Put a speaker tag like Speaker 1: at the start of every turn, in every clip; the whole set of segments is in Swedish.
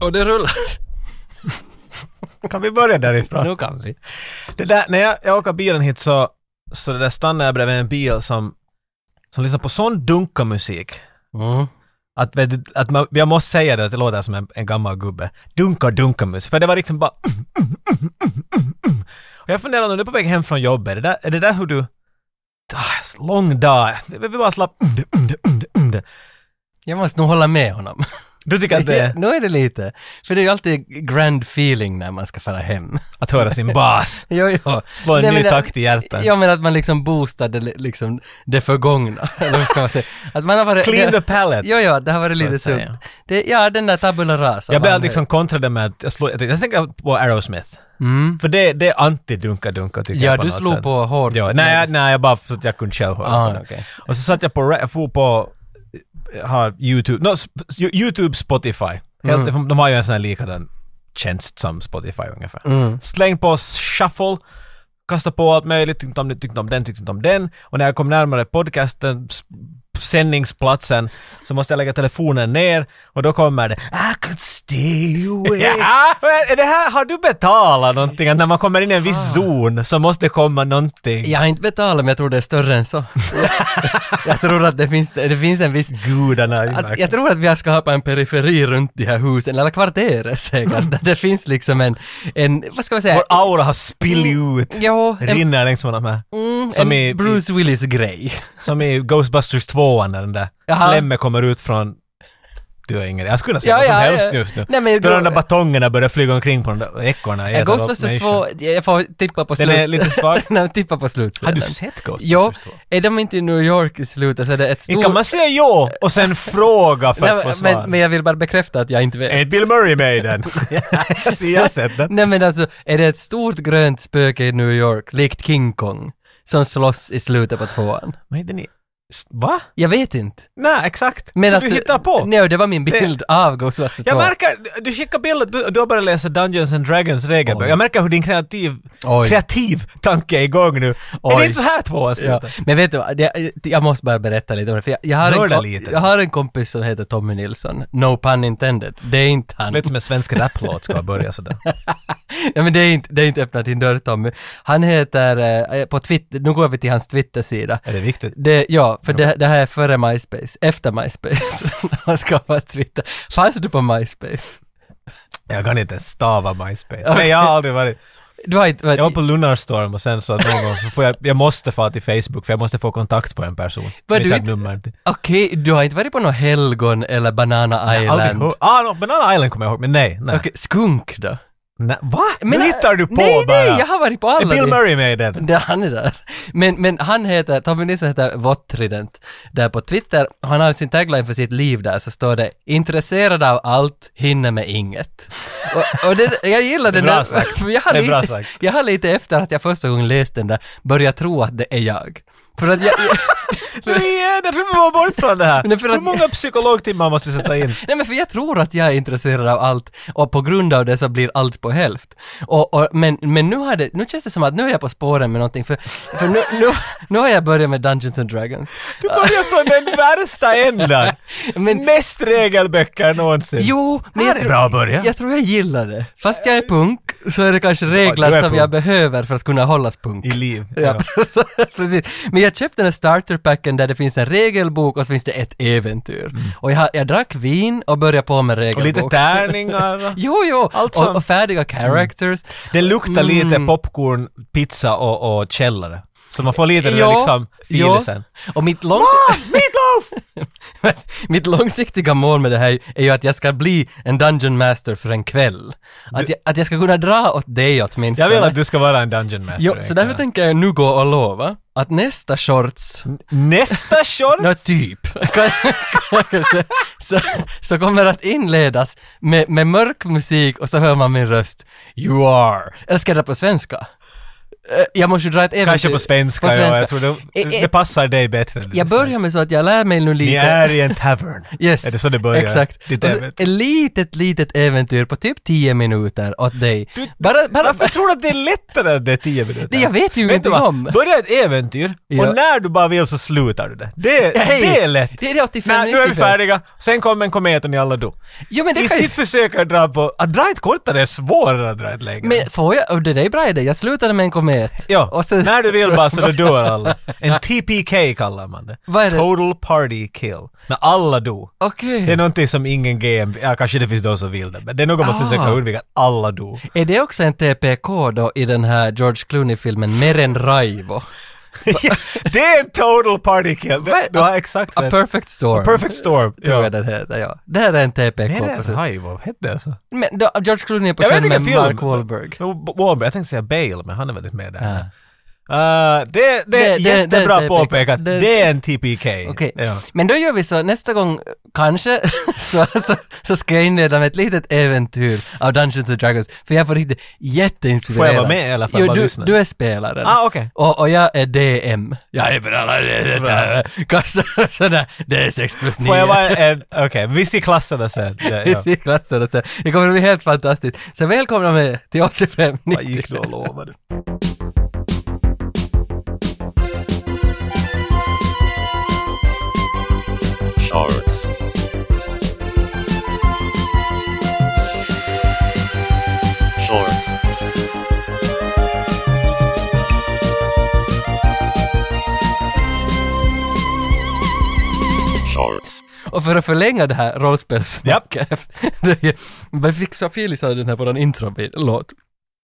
Speaker 1: Och det rullar.
Speaker 2: Kan vi börja därifrån?
Speaker 1: Nu kan vi.
Speaker 2: Det där, när jag, jag åker bilen hit så, så det där stannar jag bredvid en bil som, som lyssnar på sån dunka-musik.
Speaker 1: Mm.
Speaker 2: Att, vet du, att man, jag måste säga det, att det låter som en, en gammal gubbe. Dunka dunka mus. För det var liksom bara... mm, Och jag funderar nu, du är på väg hem från jobbet, är det där, är det där hur du... Ah, lång dag. Vi vi bara slapp...
Speaker 1: Jag måste nog hålla med honom.
Speaker 2: Du tycker att det är
Speaker 1: nu är det lite. För det är ju alltid grand feeling när man ska fara hem.
Speaker 2: att höra sin bas?
Speaker 1: Jo, jo.
Speaker 2: Slå en
Speaker 1: Nej,
Speaker 2: ny
Speaker 1: men det-
Speaker 2: takt i hjärtat.
Speaker 1: Jag menar att man liksom boostade li- liksom det förgångna. Eller hur ska man säga? Att man har varit...
Speaker 2: Clean the
Speaker 1: det,
Speaker 2: palette.
Speaker 1: Jo, jo, det har varit
Speaker 2: så
Speaker 1: lite
Speaker 2: att säga.
Speaker 1: tungt. Det, ja, den där tabula rasa.
Speaker 2: Jag började
Speaker 1: Man-
Speaker 2: liksom kontra det med att jag, slog, jag tänkte- jag tänker på Aerosmith.
Speaker 1: Mm.
Speaker 2: För det, det är anti-dunka-dunka tycker
Speaker 1: Ja,
Speaker 2: jag på
Speaker 1: du
Speaker 2: något
Speaker 1: slog
Speaker 2: sätt.
Speaker 1: på hårt.
Speaker 2: Ja, nej, jag- nej, jag bara för att jag kunde själv höra
Speaker 1: Ah,
Speaker 2: på det.
Speaker 1: okej.
Speaker 2: Och så satt jag på, ra- jag for på, eh, har YouTube, no, sp- YouTube, Spotify.
Speaker 1: Mm.
Speaker 2: Helt, de, har ju en sån här likadan tjänst som Spotify ungefär.
Speaker 1: Mm.
Speaker 2: Släng på shuffle, kasta på allt möjligt, tyckte om, tyckte om den, tyckte inte om den. Och när jag kom närmare podcasten, s- sändningsplatsen, så måste jag lägga telefonen ner och då kommer det I could stay away. ja, men är det här, har du betalat någonting? Att när man kommer in i en
Speaker 1: Ah.
Speaker 2: viss zon så måste det komma någonting.
Speaker 1: Jag har inte betalat, men jag tror det är större än så. jag tror att det finns, det finns en viss
Speaker 2: Gudarna i
Speaker 1: Alltså,
Speaker 2: mörkret.
Speaker 1: jag tror att vi har skapat en periferi runt de här husen, eller kvarteret säkert, där det finns liksom en, en vad ska man säga?
Speaker 2: Mm. Vår aura har spillit ut.
Speaker 1: Jo, Mm. en,
Speaker 2: Rinner längs med de här.
Speaker 1: mm,
Speaker 2: som i-
Speaker 1: en Bruce Willis-grej.
Speaker 2: Som i Ghostbusters 2 när den där
Speaker 1: Jaha.
Speaker 2: slemmet kommer ut från... Du är ingen... Jag skulle kunna
Speaker 1: Ja,
Speaker 2: säga vad som
Speaker 1: ja,
Speaker 2: helst
Speaker 1: ja.
Speaker 2: just nu.
Speaker 1: Nej, men-
Speaker 2: Då de där batongerna börjar flyga omkring på de där ekorna. och äta
Speaker 1: Ghostbusters
Speaker 2: upp
Speaker 1: 2,
Speaker 2: människor.
Speaker 1: jag får tippa på
Speaker 2: Den
Speaker 1: slutet.
Speaker 2: är lite svag.
Speaker 1: Nej, tippa på slutet.
Speaker 2: Har du sett
Speaker 1: Jo,
Speaker 2: Ghostbusters 2?
Speaker 1: är de inte i New York i slutet så är det ett
Speaker 2: Inte
Speaker 1: stort...
Speaker 2: kan man säga ja och sen fråga för att
Speaker 1: Nej,
Speaker 2: få svar.
Speaker 1: men, men jag vill bara bekräfta att jag inte vet.
Speaker 2: Är Bill Murray med i den? Så jag har sett den.
Speaker 1: Nej men alltså, är det ett stort grönt spöke i New York, likt King Kong, som slåss i slutet på tvåan?
Speaker 2: Men är den i... Va?
Speaker 1: Jag vet inte.
Speaker 2: Nej, exakt.
Speaker 1: Men
Speaker 2: så
Speaker 1: alltså-
Speaker 2: du hittar på?
Speaker 1: Nej, det var min bild av Ghostbusters 2.
Speaker 2: Jag märker, du- du skickar bilder, du, du har börjat läsa Dungeons and Dragons regelbok.
Speaker 1: Oj.
Speaker 2: Jag märker hur din kreativ,
Speaker 1: Oj.
Speaker 2: kreativ tanke är igång nu. Är
Speaker 1: Oj.
Speaker 2: det inte så här tvåan
Speaker 1: Ja.
Speaker 2: slutar?
Speaker 1: Men vet du vad, det, jag måste bara berätta lite om det, för jag, jag, har en
Speaker 2: Nörda
Speaker 1: kom,
Speaker 2: lite.
Speaker 1: jag har en kompis som heter Tommy Nilsson, no pun intended. Det är inte han.
Speaker 2: Lite som en svensk rapplåt ska börja sådär.
Speaker 1: Ja, men det är inte, det är inte öppna din dörr Tommy. Han heter, eh, på Twitter, nu går vi till hans Twitter-sida.
Speaker 2: Är det viktigt?
Speaker 1: Det, ja, för det, det här är före MySpace, efter MySpace. han skapade Twitter. Fanns du på MySpace?
Speaker 2: Jag kan inte ens stava MySpace.
Speaker 1: Okej.
Speaker 2: Nej, jag har aldrig varit...
Speaker 1: Du har inte varit...
Speaker 2: Jag var på Lunarstorm och sen så att någon gång så får jag... Jag måste få till Facebook för jag måste få kontakt på en person.
Speaker 1: Var
Speaker 2: Som
Speaker 1: du
Speaker 2: jag har
Speaker 1: inte-
Speaker 2: nummer till.
Speaker 1: Okej, du har inte varit på något Helgon eller Banana
Speaker 2: Aldrig
Speaker 1: Island?
Speaker 2: hört- Ah, no, Banana Island kommer jag ihåg, men nej. nej.
Speaker 1: Okej, skunk då?
Speaker 2: nej va?
Speaker 1: Men-
Speaker 2: nu hittar du på
Speaker 1: nej,
Speaker 2: bara!
Speaker 1: Nej, jag har varit på alla
Speaker 2: är Bill
Speaker 1: de-
Speaker 2: Murray med i den?
Speaker 1: Där han är där. Men, men han heter, Tommy Nilsson heter Vottrident där på Twitter. och Han har sin tagline för sitt liv där, så står det “Intresserad av allt, hinner med inget”. Och, och det, jag gillar
Speaker 2: Det är
Speaker 1: den
Speaker 2: bra
Speaker 1: där,
Speaker 2: sagt.
Speaker 1: för jag har,
Speaker 2: Det är bra
Speaker 1: lite,
Speaker 2: sagt.
Speaker 1: jag har lite efter att jag första gången läste den där, börjat tro att det är jag. För att jag, jag
Speaker 2: Nej, jag tror vi var bort från det här.
Speaker 1: Men för
Speaker 2: Hur
Speaker 1: att-
Speaker 2: många psykologtimmar måste vi sätta in?
Speaker 1: Nej men för jag tror att jag är intresserad av allt och på grund av det så blir allt på hälft. Och, och, men men nu, har det, nu känns det som att nu är jag på spåren med någonting för, för nu, nu, nu har jag börjat med Dungeons and Dragons.
Speaker 2: Du börjar från den värsta ändan.
Speaker 1: Men-
Speaker 2: Mest regelböcker någonsin.
Speaker 1: Jo, men
Speaker 2: Här
Speaker 1: jag,
Speaker 2: är
Speaker 1: tror-
Speaker 2: bra att börja.
Speaker 1: jag tror jag gillar det. Fast jag är punk så är det kanske regler
Speaker 2: du är
Speaker 1: som
Speaker 2: punk.
Speaker 1: jag behöver för att kunna hållas punk.
Speaker 2: I liv.
Speaker 1: Ja, precis. Men jag köpte den här starterpacken där det finns en regelbok och så finns det ett äventyr. Och jag, har- jag drack vin och började på med
Speaker 2: Mm. Och
Speaker 1: regelbok.
Speaker 2: lite tärningar.
Speaker 1: Jo, jo!
Speaker 2: Allt
Speaker 1: och,
Speaker 2: som-
Speaker 1: och färdiga characters.
Speaker 2: Det luktar lite
Speaker 1: Mm.
Speaker 2: popcorn, pizza och, och källare. Så man får lite den där
Speaker 1: Ja,
Speaker 2: liksom
Speaker 1: ja. Ah,
Speaker 2: filisen.
Speaker 1: Och mitt, långs mitt långsiktiga mål med det här är ju att jag ska bli en dungeon master för en kväll. Att jag, att jag ska kunna dra åt dig
Speaker 2: Jag
Speaker 1: åtminstone.
Speaker 2: vill att du ska vara en dungeon master.
Speaker 1: Jo, så därför tänker jag nu gå och lova att nästa shorts,
Speaker 2: Nästa
Speaker 1: nå
Speaker 2: short!
Speaker 1: typ, kanske, så, så kommer att inledas med, med mörk musik och så hör man min röst. You are. Eller ska jag dra på svenska? eh, jag måste ju dra ett äventyr.
Speaker 2: Kanske på svenska,
Speaker 1: På svenska.
Speaker 2: Ja, jag tror det,
Speaker 1: Eh, eh,
Speaker 2: det passar dig bättre.
Speaker 1: Jag börjar med så att jag lär mig nu lite.
Speaker 2: Ni är i en tavern.
Speaker 1: Yes,
Speaker 2: Är det så det börjar?
Speaker 1: exakt.
Speaker 2: Ditt
Speaker 1: Och så
Speaker 2: äventyr.
Speaker 1: ett litet, litet äventyr på typ 10 minuter åt dig.
Speaker 2: Du-
Speaker 1: bara, bara,
Speaker 2: Varför tror du att det är lättare än det är tio minuter?
Speaker 1: Nej, jag vet ju
Speaker 2: Vet du
Speaker 1: ingenting
Speaker 2: vad?
Speaker 1: om.
Speaker 2: Börja ett äventyr,
Speaker 1: Ja.
Speaker 2: och när du bara vill så slutar du det. Det,
Speaker 1: Hej!
Speaker 2: det är lätt.
Speaker 1: Det är det 85
Speaker 2: Nej, nu är vi
Speaker 1: 95.
Speaker 2: färdiga. Sen kommer en komet och ni alla dog.
Speaker 1: Jo men det
Speaker 2: I
Speaker 1: kan ju...
Speaker 2: sitt försök att dra på... Att dra ett kortare är svårare än att dra ett längre.
Speaker 1: Men får jag... Och det där är bra idé. Jag slutade med en komet.
Speaker 2: Ja,
Speaker 1: Och så...
Speaker 2: när du vill bara så då dör alla. En TPK kallar man det.
Speaker 1: Vad är det?
Speaker 2: Total Party Kill. När alla dog.
Speaker 1: Okej.
Speaker 2: Det är någonting som ingen GM, ja kanske det finns de som vill det, men det är något man
Speaker 1: Ah.
Speaker 2: försöker undvika, att alla dog.
Speaker 1: Är det också en TPK då i den här George Clooney-filmen Meren Raivo?
Speaker 2: det är en total party kill! Det-
Speaker 1: Vad-
Speaker 2: Du har exakt
Speaker 1: A
Speaker 2: rätt.
Speaker 1: Perfect Storm.
Speaker 2: Perfect storm.
Speaker 1: Tror
Speaker 2: Ja.
Speaker 1: jag den heter, ja. Det här är en
Speaker 2: Nej,
Speaker 1: TPK.
Speaker 2: det
Speaker 1: på
Speaker 2: är
Speaker 1: sig.
Speaker 2: en haj, vad hette det så?
Speaker 1: Men då, George Clooney är på
Speaker 2: Jag vet
Speaker 1: scen med
Speaker 2: inte, film.
Speaker 1: Mark Wahlberg.
Speaker 2: Wahlberg, jag tänkte säga Bale, men han är väl inte med där.
Speaker 1: Ja.
Speaker 2: Eh, det, det är
Speaker 1: Det- det-
Speaker 2: jättebra
Speaker 1: det- det-
Speaker 2: påpekat.
Speaker 1: det-
Speaker 2: Det är en TPK.
Speaker 1: Okej,
Speaker 2: Ja.
Speaker 1: men då gör vi så nästa gång, kanske, så, så, så ska jag inleda med ett litet äventyr av Dungeons and Dragons, för jag är på riktigt jätteinspirerad.
Speaker 2: Får jag vara med i alla fall?
Speaker 1: Jo,
Speaker 2: Bara
Speaker 1: du,
Speaker 2: lyssna.
Speaker 1: du är spelaren.
Speaker 2: Ah, okej.
Speaker 1: och, och jag är DM. Jag är bara... Kastar sådär, det är 6 plus 9.
Speaker 2: Får jag vara en... Okej, vi ser klasserna sen. Ja, ja.
Speaker 1: i klassen och så. Det kommer att bli helt fantastiskt. Så välkomna med till 85
Speaker 2: Vad gick du och lovade?
Speaker 3: Shorts. Shorts. Shorts.
Speaker 1: Och för att förlänga det här rollspelssnacket. Jag fick så Felix hade den här våran introlåt.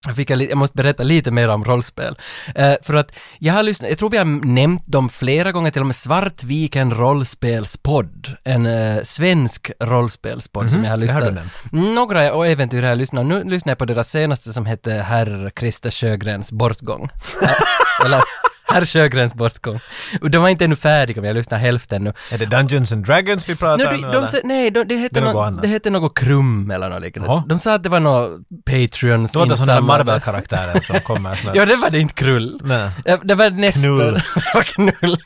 Speaker 1: Jag, fick, jag li- jag måste berätta lite mer om rollspel. Eh, för att jag har lyssnat, jag tror vi har nämnt dem flera gånger, till och med Svartviken rollspelspodd. En eh, svensk rollspelspodd som jag har
Speaker 2: Mhm. det har
Speaker 1: lyssnat.
Speaker 2: du nämnt.
Speaker 1: Några och äventyr har jag lyssnat. Nu lyssnar jag på deras senaste som hette Herr Christer Sjögrens bortgång. Eller Herr Sjögrens bortgång. Och de var inte ännu färdiga, men jag lyssnar hälften nu.
Speaker 2: Är det Dungeons and Dragons vi pratar
Speaker 1: Nej,
Speaker 2: nu
Speaker 1: de,
Speaker 2: eller?
Speaker 1: de, sa- nej de, det, hette
Speaker 2: Det är något
Speaker 1: något
Speaker 2: annat.
Speaker 1: det hette något krum eller något liknande.
Speaker 2: Jaha.
Speaker 1: De sa att det var något Patreons
Speaker 2: Det låter som den där
Speaker 1: insamlade.
Speaker 2: Marvel-karaktären som kommer. sån här-
Speaker 1: Ja, det var det inte krull.
Speaker 2: Nej.
Speaker 1: Ja, Det var nästan...
Speaker 2: Knull.
Speaker 1: det var knull.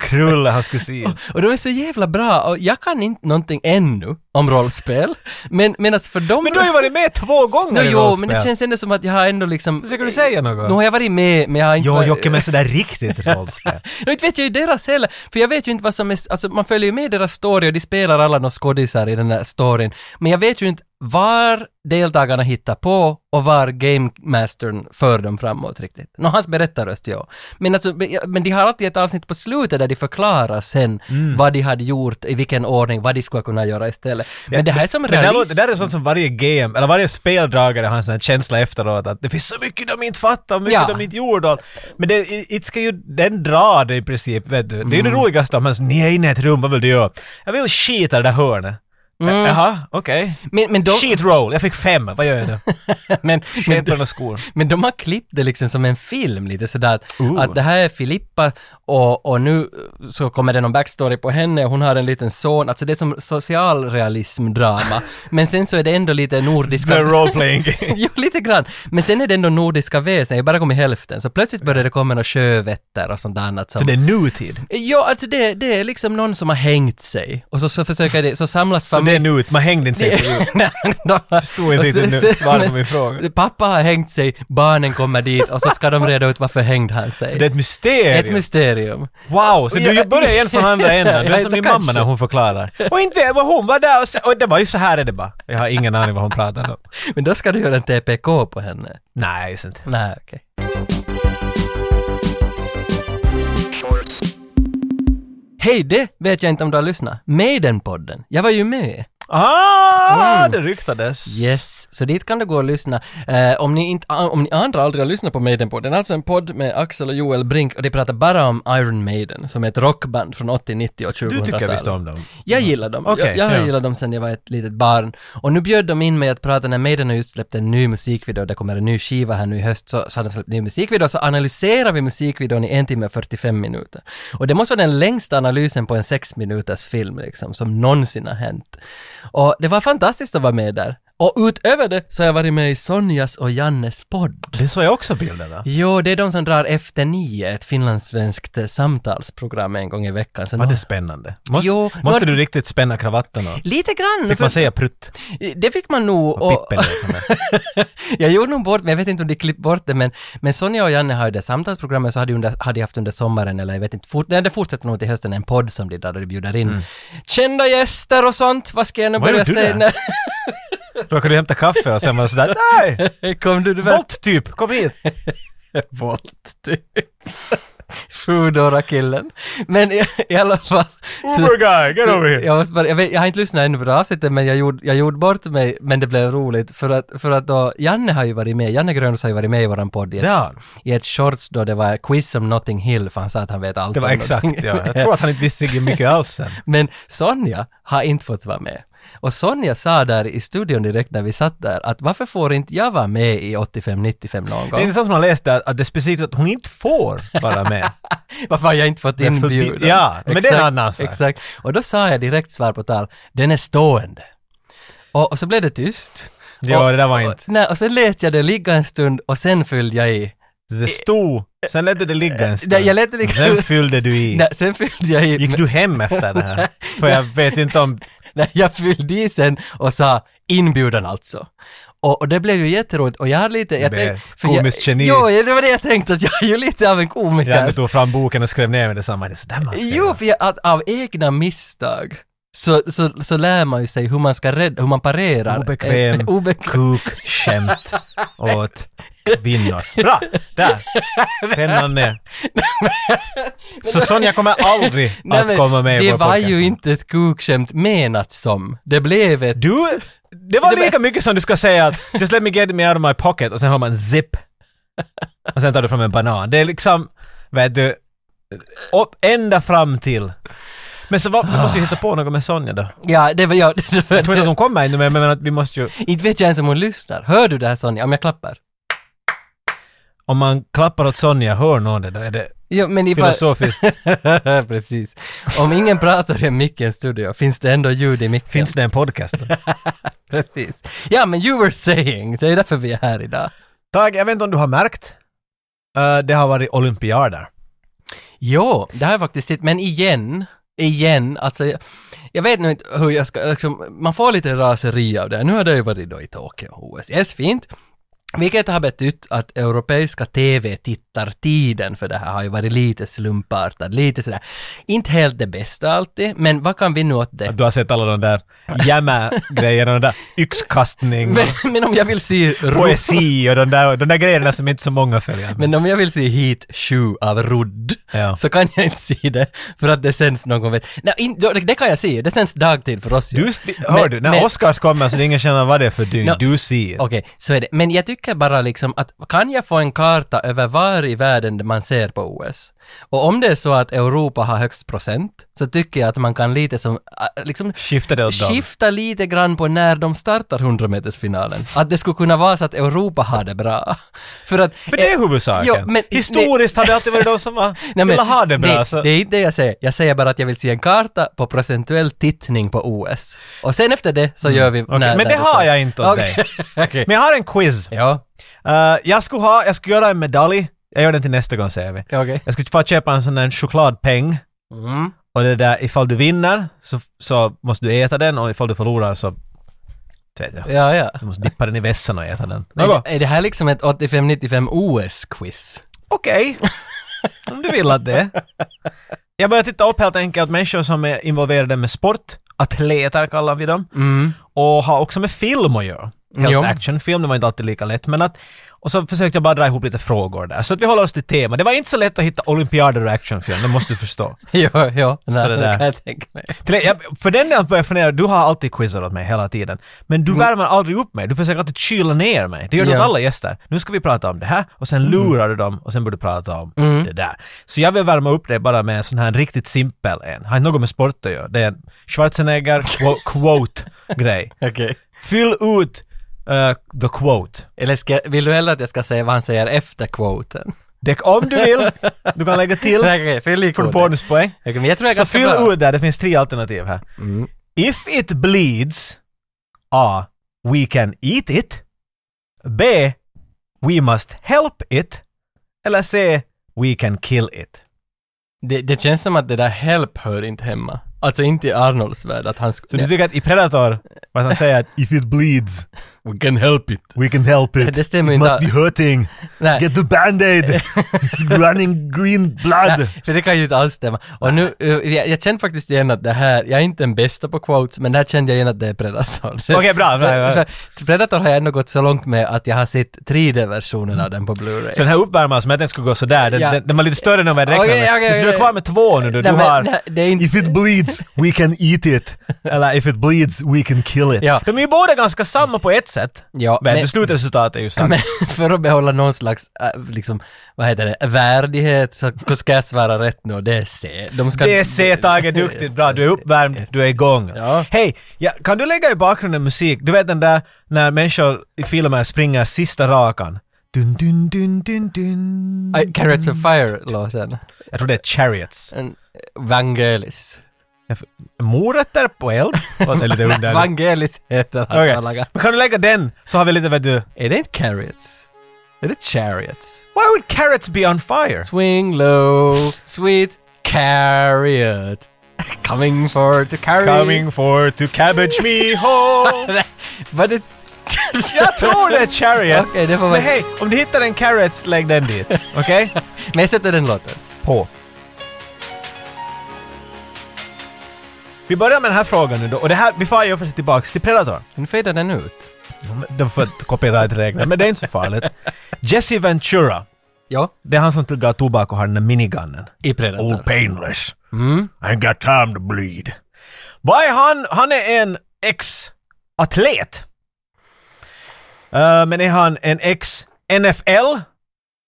Speaker 2: Krulle, han skulle se.
Speaker 1: Och de är så jävla bra och jag kan inte någonting ännu om rollspel. Men, men alltså för dem...
Speaker 2: Men du har ju varit med två gånger
Speaker 1: no,
Speaker 2: i
Speaker 1: Jo,
Speaker 2: rollspel.
Speaker 1: men det känns ändå som att jag har ändå liksom...
Speaker 2: Försöker du säga något?
Speaker 1: Nu har jag varit med, men jag har inte
Speaker 2: Jo,
Speaker 1: varit-
Speaker 2: Jocke, men sådär riktigt rollspel.
Speaker 1: Nå, inte vet jag ju deras heller, för jag vet ju inte vad som är, alltså man följer ju med deras story och de spelar alla de skådisar i den där storyn, men jag vet ju inte var deltagarna hittar på och var gamemastern för dem framåt riktigt. Nå, hans berättarröst, ja. Men, alltså, men jag- men de har alltid ett avsnitt på slutet där de förklarar sen
Speaker 2: Mm.
Speaker 1: vad de hade gjort, i vilken ordning, vad de skulle kunna göra istället. Men det här är som
Speaker 2: Men det, här, låter-
Speaker 1: realism.
Speaker 2: det där är sånt som varje game, eller varje speldragare har en sån här känsla efteråt att det finns så mycket de inte fattar, och mycket
Speaker 1: Ja.
Speaker 2: de inte gjorde. och- Men det, i- it ska ju, den drar det i princip, vet du. Det är ju det
Speaker 1: Mm.
Speaker 2: roligaste om man säger ni är inne i ett rum, vad vill du göra? Jag vill skita i det där hörnet.
Speaker 1: Mm.
Speaker 2: Jaha, okej.
Speaker 1: Men, men, de,
Speaker 2: Shit roll, jag fick fem, vad gör jag då?
Speaker 1: men, men,
Speaker 2: Skämt och skor.
Speaker 1: Men de har klippt det liksom som en film lite sådär att,
Speaker 2: Ooh.
Speaker 1: att det här är Filippa och, och nu så kommer det någon backstory på henne och hon har en liten son. Alltså det är som socialrealismdrama. Men sen så är det ändå lite
Speaker 2: The
Speaker 1: nordiska...
Speaker 2: role playing game.
Speaker 1: jo, lite grann. Men sen är det ändå nordiska väsen. Jag bara kom i hälften. Så plötsligt började det komma några sjövätter och sånt annat. Som...
Speaker 2: Så det är nutid.
Speaker 1: Ja, alltså det, det är liksom någon som har hängt sig. Och så, så försöker det, så samlas
Speaker 2: Så det är nut, man hängde inte sig på jorden.
Speaker 1: Nej, de har-
Speaker 2: Förstod inte
Speaker 1: och sen-
Speaker 2: riktigt nu
Speaker 1: sen-
Speaker 2: svaret på min fråga.
Speaker 1: Pappa har hängt sig, barnen kommer dit och så ska de reda ut varför hängde han sig.
Speaker 2: Så det är ett mysterium.
Speaker 1: Ett mysterium.
Speaker 2: Wow, så du börjar igen från andra änden. Du är
Speaker 1: Ja,
Speaker 2: som min
Speaker 1: kanske.
Speaker 2: mamma när hon förklarar. Och inte vet vad hon var där och, sen, och det var ju så här är det bara. Jag har ingen aning vad hon pratade om.
Speaker 1: Men då ska du göra en TPK på henne.
Speaker 2: Nej, nice. inte.
Speaker 1: Nej, okej. Hej, det vet jag inte om du har lyssnat. Maiden-podden. Jag var ju med.
Speaker 2: Ah,
Speaker 1: Mm.
Speaker 2: det ryktades.
Speaker 1: Yes, så dit kan du gå och lyssna. Eh, om, ni inte, om ni andra aldrig har lyssnat på Maiden-podden, alltså en podd med Axel och Joel Brink och de pratar bara om Iron Maiden, som är ett rockband från 80-, 90 och 2000-talet.
Speaker 2: Du tycker visst om dem.
Speaker 1: Jag gillar dem.
Speaker 2: Okej,
Speaker 1: jag jag har
Speaker 2: ja.
Speaker 1: gillat dem sedan jag var ett litet barn. Och nu bjöd de in mig att prata när Maiden har just släppt en ny musikvideo. Det kommer en ny skiva här nu i höst, så, så har de släppt en ny musikvideo. Så analyserar vi musikvideon i en timme och 45 minuter. Och det måste vara den längsta analysen på en sex minuters film liksom, som någonsin har hänt. Och det var fantastiskt att vara med där. Och utöver det så har jag varit med i Sonjas och Jannes podd.
Speaker 2: Det såg jag också bilderna.
Speaker 1: Jo, det är de som drar Efter nio, ett finlandssvenskt eh, samtalsprogram en gång i veckan. Så
Speaker 2: Var
Speaker 1: nå-
Speaker 2: det spännande? Måste,
Speaker 1: Jo,
Speaker 2: måste
Speaker 1: nå-
Speaker 2: du riktigt spänna kravatten? Och,
Speaker 1: Lite grann.
Speaker 2: fick
Speaker 1: för-
Speaker 2: man säga prutt?
Speaker 1: Det fick man nog.
Speaker 2: Och
Speaker 1: Och,
Speaker 2: pippen och sådär.
Speaker 1: jag gjorde nog bort men jag vet inte om de klippte bort det, men, men Sonja och Janne har ju det samtalsprogrammet, så hade jag, under, hade jag haft under sommaren, eller jag vet inte, fort, nej, det fortsätter nog till hösten, en podd som de där de bjuder in kända gäster och sånt. Vad ska jag nu
Speaker 2: Mm. Vad
Speaker 1: börja
Speaker 2: gjorde du
Speaker 1: säga?
Speaker 2: där? Råkade du hämta kaffe och sen var det sådär nej!
Speaker 1: Nej, Kom du, du väl?
Speaker 2: Volt typ, kom hit!
Speaker 1: Volt, typ. Foodora-killen. Men i, i alla fall... så-
Speaker 2: Uber guy, get
Speaker 1: Så
Speaker 2: over here!
Speaker 1: Jag, måste bara, jag, vet, jag har inte lyssnat ännu på det här avsnittet, men jag gjorde, jag gjorde bort mig, men det blev roligt. För att, för att då, Janne har ju varit med, Janne Grönros har ju varit med i våran podd i ett,
Speaker 2: Det har han.
Speaker 1: i ett shorts då det var quiz om Notting Hill, för han sa att han vet allt
Speaker 2: Det var
Speaker 1: om
Speaker 2: exakt
Speaker 1: Notting
Speaker 2: ja. Jag
Speaker 1: Hill.
Speaker 2: tror att han inte visste riktigt mycket alls sen.
Speaker 1: Men Sonja har inte fått vara med. Och Sonja sa där i studion direkt när vi satt där att varför får inte jag vara med i 85-95 någon
Speaker 2: Det är
Speaker 1: gång?
Speaker 2: intressant som man läste att, att det är specifikt att hon inte får vara med.
Speaker 1: Varför har jag inte fått
Speaker 2: är förbi-
Speaker 1: inbjudan?
Speaker 2: Ja, men det är en annan sak.
Speaker 1: Exakt. Och då sa jag direkt svar på tal, den är stående. Och, och så blev det tyst.
Speaker 2: Ja, det där var inte.
Speaker 1: Nej, och sen lät jag det ligga en stund och sen fyllde jag i.
Speaker 2: Det stod, sen lät du det ligga en stund.
Speaker 1: Eh, Nej, jag lät det ligga-
Speaker 2: Sen fyllde du i.
Speaker 1: Nej, sen fyllde jag i.
Speaker 2: Gick du hem efter det här? För jag vet inte om...
Speaker 1: Nej, jag fyllde i sen och sa inbjudan alltså. Och, och det blev ju jätteroligt och jag har lite... Jag
Speaker 2: Men,
Speaker 1: tänk- för jag-
Speaker 2: komiskt geni.
Speaker 1: Jo, det var det jag tänkte att jag är ju lite av en komiker.
Speaker 2: Jag tog fram boken och skrev ner med detsamma. Det är sådär man ska
Speaker 1: Jo,
Speaker 2: göra.
Speaker 1: för jag, att av egna misstag så, så, så lär man ju sig hur man ska rädda, hur man parerar.
Speaker 2: Obekväm
Speaker 1: Eh, obek-
Speaker 2: kukskämt åt kvinnor. Bra! Där! Pennan ner. Så Sonja kommer aldrig
Speaker 1: Nej,
Speaker 2: att
Speaker 1: men
Speaker 2: komma med i
Speaker 1: Det
Speaker 2: vår
Speaker 1: var
Speaker 2: podcast.
Speaker 1: ju inte ett kukskämt menat som. Det blev ett...
Speaker 2: Du, det var lika mycket som du ska säga att just let me get me out of my pocket och sen har man zip. Och sen tar du fram en banan. Det är liksom, vet du, upp, ända fram till. Men så vad, vi måste ju hitta på något med Sonja då.
Speaker 1: Ja, det var jag. Det var,
Speaker 2: Jag tror inte att hon kommer ännu men, men att vi måste ju,
Speaker 1: Inte vet jag ens om hon lyssnar. Hör du det här Sonja, om jag klappar?
Speaker 2: om man klappar åt Sonja, hör någon det då är det
Speaker 1: Jo, men ifall...
Speaker 2: filosofiskt.
Speaker 1: Precis. Om ingen pratar i micken studio, finns det ändå ljud i micken?
Speaker 2: Finns det en podcast då?
Speaker 1: Precis. Ja, men you were saying, det är därför vi är här idag.
Speaker 2: Tag, jag vet inte om du har märkt. Eh, det har varit olympiader.
Speaker 1: Jo, det har jag faktiskt sett, men igen, igen, alltså jag, jag vet nu inte hur jag ska, liksom, man får lite raseri av det. Nu har det ju varit då i Tokyo, OS, yes, fint. Vilket har betytt att europeiska TV-tittartiden för det här har ju varit lite slumpartad, lite sådär. Inte helt det bästa alltid, men vad kan vi nu åt det?
Speaker 2: Att du har sett alla de där jämma-grejerna, de där yxkastning.
Speaker 1: Men, men om jag vill se ro,
Speaker 2: poesi och de där, de där grejerna som inte så många följer.
Speaker 1: men om jag vill se Heat 7 av Rudd,
Speaker 2: Ja.
Speaker 1: så kan jag inte se det för att det sänds någon vet. Nej, in, det, det kan jag se, det sänds dagtid för oss ju.
Speaker 2: du, hör
Speaker 1: Men-
Speaker 2: du, när
Speaker 1: men-
Speaker 2: Oscars kommer så det är ingen känner vad det är för dygn.
Speaker 1: Nå,
Speaker 2: du ser.
Speaker 1: Okej, så är det. Men jag tycker bara liksom att kan jag få en karta över var i världen man ser på OS? Och om det är så att Europa har högst procent, så tycker jag att man kan lite som, äh, liksom
Speaker 2: Skifta det åt dem.
Speaker 1: skifta lite grann på när de startar 100-metersfinalen. Att det skulle kunna vara så att Europa har det bra. För att...
Speaker 2: För det är
Speaker 1: eh,
Speaker 2: huvudsaken.
Speaker 1: Jo, men-
Speaker 2: Historiskt har det alltid varit de som har velat ha det bra.
Speaker 1: nej,
Speaker 2: så.
Speaker 1: det är inte det jag säger. Jag säger bara att jag vill se en karta på procentuell tittning på OS. Och sen efter det så gör vi...
Speaker 2: Mm, Okej, men det har jag inte åt dig.
Speaker 1: Okej.
Speaker 2: Men jag har en quiz.
Speaker 1: Ja,
Speaker 2: Eh, jag, skulle ha, jag skulle göra en medalj. Jag gör den till nästa gång säger vi.
Speaker 1: okej.
Speaker 2: Jag skulle få köpa en sån där chokladpeng.
Speaker 1: Mm.
Speaker 2: Och det där, ifall du vinner så, så måste du äta den och ifall du förlorar så... så vet jag,
Speaker 1: Ja, ja.
Speaker 2: Du måste dippa den i vässan och äta den.
Speaker 1: Är
Speaker 2: Något?
Speaker 1: det, är det här liksom ett 85-95 OS-quiz?
Speaker 2: okej. Om du vill att det. Jag börjar titta upp helt enkelt människor som är involverade med sport. Atleter kallar vi dem.
Speaker 1: Mm.
Speaker 2: Och har också med film att göra. Helst
Speaker 1: Jo.
Speaker 2: actionfilm, det var inte alltid lika lätt. Men att, och så försökte jag bara dra ihop lite frågor där. Så att vi håller oss till tema. Det var inte så lätt att hitta olympiader och actionfilm, det måste du förstå.
Speaker 1: Jo, jo. Nej,
Speaker 2: det
Speaker 1: det
Speaker 2: där.
Speaker 1: kan jag tänka mig.
Speaker 2: Till, jag, för den delen börjar jag fundera, du har alltid quizat åt mig hela tiden. Men du värmer aldrig upp mig, du försöker alltid kyla ner mig. Det gör du
Speaker 1: Mm. Ja.
Speaker 2: åt alla gäster. Nu ska vi prata om det här och sen lurar du dem och sen börjar du prata om
Speaker 1: Mm.
Speaker 2: det där. Så jag vill värma upp dig bara med en sån här riktigt simpel en. Har inte något med sport att göra. Det är en Schwarzenegger-quote-grej.
Speaker 1: Okej.
Speaker 2: Fyll ut eh, the quote.
Speaker 1: Eller ska, vill du hellre att jag ska säga vad han säger efter quoten?
Speaker 2: Det, om du vill, du kan lägga till.
Speaker 1: Nej, okej, fyll i
Speaker 2: Får du
Speaker 1: kvoten.
Speaker 2: bonuspoäng.
Speaker 1: Okej, men jag tror jag är
Speaker 2: Så
Speaker 1: ganska
Speaker 2: fyll
Speaker 1: bra.
Speaker 2: ut där, det finns tre alternativ här.
Speaker 1: Mm.
Speaker 2: If it bleeds, A. We can eat it. B. We must help it. Eller C. We can kill it.
Speaker 1: Det, det känns som att det där help hör inte hemma. Alltså inte i Arnolds värld att han
Speaker 2: Så
Speaker 1: skulle...
Speaker 2: du tycker att i Predator, vad han säger att if it bleeds,
Speaker 1: We can help it.
Speaker 2: we can help it.
Speaker 1: Det stämmer
Speaker 2: it
Speaker 1: inte
Speaker 2: must
Speaker 1: all-
Speaker 2: be hurting.
Speaker 1: Nej.
Speaker 2: Get the band-aid. It's running green blood.
Speaker 1: Nej, för det kan ju inte alls stämma. Och nu, eh, jag, jag känner faktiskt igen att det här, jag är inte den bästa på quotes, men där kände jag igen att det är Predator.
Speaker 2: Okej, bra, bra, bra.
Speaker 1: För Predator har jag ändå gått så långt med att jag har sett 3D-versionen av den på Blu-ray.
Speaker 2: Så den här uppvärmaren som jag tänkte skulle gå sådär, den,
Speaker 1: Ja.
Speaker 2: den, den var lite större än vad jag räknade
Speaker 1: Okej,
Speaker 2: med.
Speaker 1: okej,
Speaker 2: så du är
Speaker 1: okej.
Speaker 2: kvar med två nu. Du,
Speaker 1: Nej,
Speaker 2: du
Speaker 1: men,
Speaker 2: har...
Speaker 1: nej, det är inte...
Speaker 2: If it bleeds, we can eat it. Eller if it bleeds, we can kill it.
Speaker 1: Ja.
Speaker 2: De är ju båda ganska samma på ett sätt.
Speaker 1: Ja,
Speaker 2: men,
Speaker 1: men-
Speaker 2: slutresultatet är ju samma.
Speaker 1: Men för att behålla någon slags, äh, liksom, vad heter det, värdighet så så ska jag svara rätt nu och det är C. De ska,
Speaker 2: Det är C, Tage, duktigt, bra. Du är uppvärmd,
Speaker 1: Yes.
Speaker 2: du är igång.
Speaker 1: Ja.
Speaker 2: Hej, ja, kan du lägga i bakgrunden musik? Du vet den där när människor i filmer springer sista rakan. Dun, dun, dun, dun, dun.
Speaker 1: Äh, Carrots of Fire-låten.
Speaker 2: Jag tror det är Chariots.
Speaker 1: En- Vangelis.
Speaker 2: Morötter på eld? Låter lite underligt.
Speaker 1: Vangelis heter hans
Speaker 2: Okej.
Speaker 1: förlaga.
Speaker 2: Men kan du lägga den så har vi lite, vet du...
Speaker 1: Är det inte carrots? Är det chariots?
Speaker 2: Why would carrots be on fire?
Speaker 1: Swing low, sweet carriot. Coming for to carry.
Speaker 2: Coming for to cabbage me home.
Speaker 1: Var det...
Speaker 2: Jag tror det är Chariot.
Speaker 1: Okej, det får vara...
Speaker 2: Men hej, om du hittar en Carrots, lägg den dit. Okej?
Speaker 1: Men jag sätter den låten.
Speaker 2: På. Vi börjar med den här frågan nu då. Och det här, vi far ju för sig tillbaks till Predator.
Speaker 1: Nu fejdar den ut.
Speaker 2: De får ett copyrightregler, men det är inte så farligt. Jesse Ventura.
Speaker 1: Ja,
Speaker 2: Det är han som tillgar tobak och har den där minigunnen.
Speaker 1: i Predator.
Speaker 2: All painless.
Speaker 1: Mm.
Speaker 2: I ain't got time to bleed. Vad är han? Han är en ex-atlet. Eh, men är han en ex-NFL?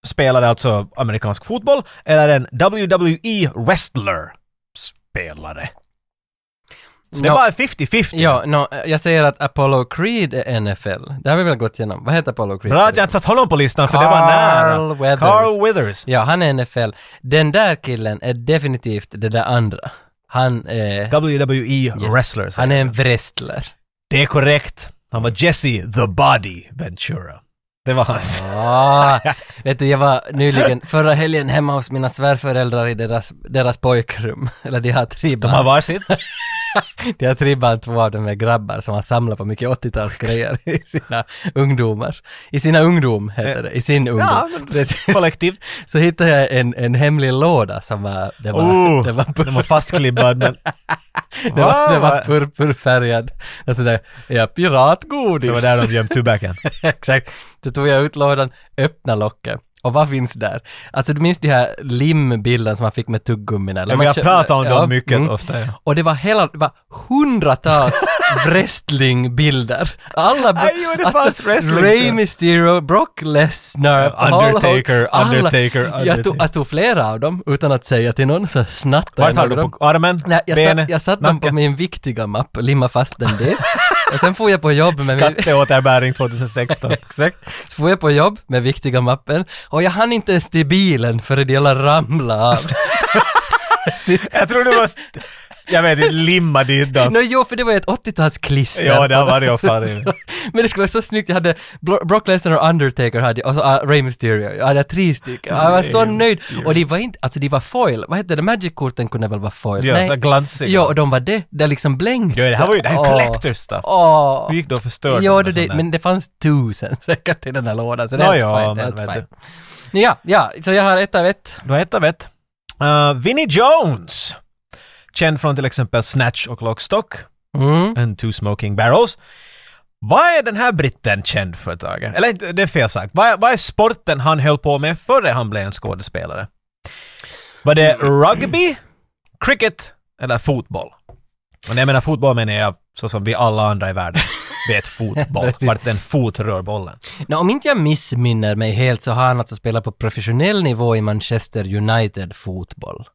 Speaker 2: Spelade alltså amerikansk fotboll. Eller en WWE-wrestler? Spelare. Så det
Speaker 1: Ja.
Speaker 2: var 50-50.
Speaker 1: Ja, nå, jag säger att Apollo Creed är NFL. Det har vi väl gått igenom. Vad heter Apollo Creed?
Speaker 2: Bra att jag inte satt honom på listan för det var
Speaker 1: Carl
Speaker 2: nära.
Speaker 1: Weathers.
Speaker 2: Carl Withers.
Speaker 1: Ja, han är NFL. Den där killen är definitivt det där andra. Han är...
Speaker 2: WWE-wrestler.
Speaker 1: Han är en wrestler.
Speaker 2: E Det är korrekt. Han var Jesse the Body Ventura. Det var hans.
Speaker 1: Ah, vet du, jag var nyligen, förra helgen hemma hos mina svärföräldrar i deras, deras pojkrum. Eller de har tre
Speaker 2: De har
Speaker 1: barn.
Speaker 2: varsitt.
Speaker 1: De har tre barn, två av dem är grabbar som har samlat på mycket 80-talsgrejer i sina ungdomar. I sina ungdom heter det, i sin ungdom.
Speaker 2: men-
Speaker 1: Precis.
Speaker 2: Kollektivt.
Speaker 1: Så hittade jag en, en hemlig låda som var, det var,
Speaker 2: Oh,
Speaker 1: det var, pur,
Speaker 2: Den var fastklibbad men...
Speaker 1: det var, det var
Speaker 2: Wow.
Speaker 1: purpurfärgad. Och sådär, ja, piratgodis.
Speaker 2: Det var där de gömt tobaken.
Speaker 1: Exakt. Så tog jag ut lådan, öppna locket. Och vad finns där? Alltså du minns de här limbilden som man fick med tuggummina? eller
Speaker 2: Ja,
Speaker 1: man
Speaker 2: vi har
Speaker 1: kö-
Speaker 2: pratat om
Speaker 1: Ja,
Speaker 2: dem mycket
Speaker 1: mm.
Speaker 2: ofta. Ja.
Speaker 1: Och det var hela, det var hundratals wrestlingbilder. Alla,
Speaker 2: Aj, jo, det fanns wrestling.
Speaker 1: Ray Mysterio, Brock Lesnar, Paul Hogan,
Speaker 2: Undertaker,
Speaker 1: alla.
Speaker 2: Undertaker,
Speaker 1: Jag tog, jag tog flera av dem utan att säga till någon, så snattade
Speaker 2: Vart
Speaker 1: jag några
Speaker 2: har du?
Speaker 1: av dem.
Speaker 2: På armen?
Speaker 1: Nej, jag,
Speaker 2: benet?
Speaker 1: satt, jag satt dem på
Speaker 2: nacken?
Speaker 1: min viktiga mapp och limmade fast den dit. och sen får jag på jobb med min...
Speaker 2: Skatteåterbäring 2016.
Speaker 1: Exakt. Så får jag på jobb med viktiga mappen och jag hann inte ens till bilen förrän det hela ramlade av. Sitt-
Speaker 2: jag tror du var... st- Jag vet inte, limma dit dem.
Speaker 1: Nå jo, för det var ju ett 80-talsklister.
Speaker 2: Ja, det har varit och farit.
Speaker 1: Så- Men det skulle vara så snyggt, jag hade Bro- Brock Lesnar och Undertaker hade jag, och så ah, Rey Mysterio, jag hade tre stycken. Jag var så
Speaker 2: Rey
Speaker 1: nöjd. Och de var inte, alltså de var foil, vad hette det, Magic-korten kunde väl vara foil?
Speaker 2: Ja, så glansiga.
Speaker 1: Ja, och de var det, det liksom blänkte.
Speaker 2: Ja, det här var ju... Det här är
Speaker 1: Åh.
Speaker 2: collector stuff.
Speaker 1: Åh.
Speaker 2: Vi gick då och förstörde
Speaker 1: Ja,
Speaker 2: dem
Speaker 1: det,
Speaker 2: och
Speaker 1: det,
Speaker 2: sånt
Speaker 1: men det fanns tusen säkert i den här lådan, så det är
Speaker 2: Ja,
Speaker 1: helt
Speaker 2: ja,
Speaker 1: fine. det är
Speaker 2: men
Speaker 1: helt
Speaker 2: vet
Speaker 1: fine. Ja, ja, så jag har ett av ett.
Speaker 2: där. Du har ett av ett. Uh, Vinnie Jones. Känd från till exempel Snatch och Lockstock.
Speaker 1: Mm.
Speaker 2: and two smoking barrels. Vad är den här britten känd för, Tage? Eller inte- det är fel sagt. Vad, är- vad är sporten han höll på med före han blev en skådespelare? Var det
Speaker 1: Mm.
Speaker 2: rugby, cricket eller fotboll? Och när jag menar fotboll menar jag så som vi alla andra i världen vet fotboll.
Speaker 1: Precis.
Speaker 2: Vart en fot rör bollen.
Speaker 1: Nå, om inte jag missminner mig helt så har han alltså spelat på professionell nivå i Manchester United fotboll.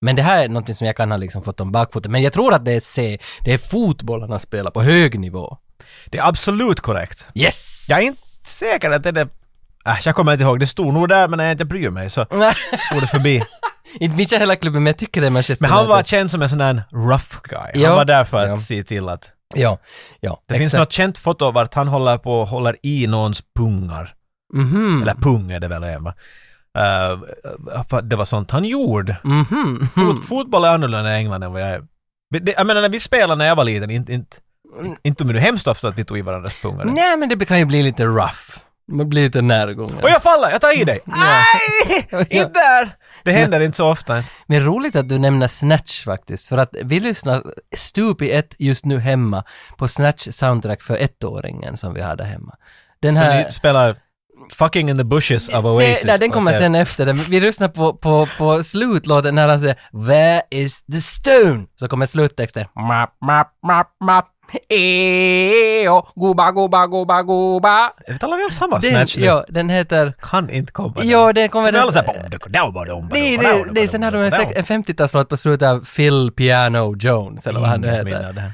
Speaker 1: Men det här är något som jag kan ha liksom fått om bakfoten. Men jag tror att det är C. Det är fotboll han har spelat på hög nivå.
Speaker 2: Det är absolut korrekt.
Speaker 1: Yes!
Speaker 2: Jag är inte säker att det är det... Äh, jag kommer inte ihåg. Det stod nog där men jag, jag bryr mig så
Speaker 1: Nej,
Speaker 2: går det förbi.
Speaker 1: inte minns jag hela klubben men jag tycker det är Manchester
Speaker 2: Men han var
Speaker 1: United.
Speaker 2: känd som en sån där rough guy. Han
Speaker 1: Ja.
Speaker 2: var där för att
Speaker 1: Ja.
Speaker 2: se till att
Speaker 1: Ja, ja.
Speaker 2: Det finns något känt foto vart han håller på och håller i någons pungar.
Speaker 1: Mhm.
Speaker 2: Eller pung är det väl även va? Eh, för det var sånt han gjorde.
Speaker 1: Mhm.
Speaker 2: Fot, fotboll är annorlunda i England än vad jag är. Men det- Jag menar när vi spelade när jag var liten, inte, inte, inte men det hemskt ofta att vi tog i varandras pungar.
Speaker 1: Nej, men det kan ju bli lite rough. Man blir lite närgången.
Speaker 2: Och jag faller, jag tar i dig!
Speaker 1: Ja.
Speaker 2: Aj! Inte där! Det händer inte så ofta.
Speaker 1: Men roligt att du nämner Snatch faktiskt, för att vi lyssnar stup i ett just nu hemma på Snatch soundtrack för ettåringen som vi hade hemma. Den
Speaker 2: Så
Speaker 1: här...
Speaker 2: ni spelar Fucking in the bushes of Oasis.
Speaker 1: Nej, nej, den kommer
Speaker 2: Okej.
Speaker 1: sen efter den. Vi lyssnar på, på, på slutlåten när han säger “Where is the stone?” Så kommer sluttexten. Map, map, map, map. E-, Eo, goba, goba, goba, goba.
Speaker 2: Jag vet alla vi har samma
Speaker 1: Den,
Speaker 2: snatch nu.
Speaker 1: ja, den heter...
Speaker 2: Kan inte komma.
Speaker 1: Ja, den alltså kommer...
Speaker 2: Men alla
Speaker 1: Den,
Speaker 2: såhär...
Speaker 1: nej, nej, nej, sen hade de en sex- en 50-talslåt på slutet av Phil Piano Jones, eller vad han nu heter.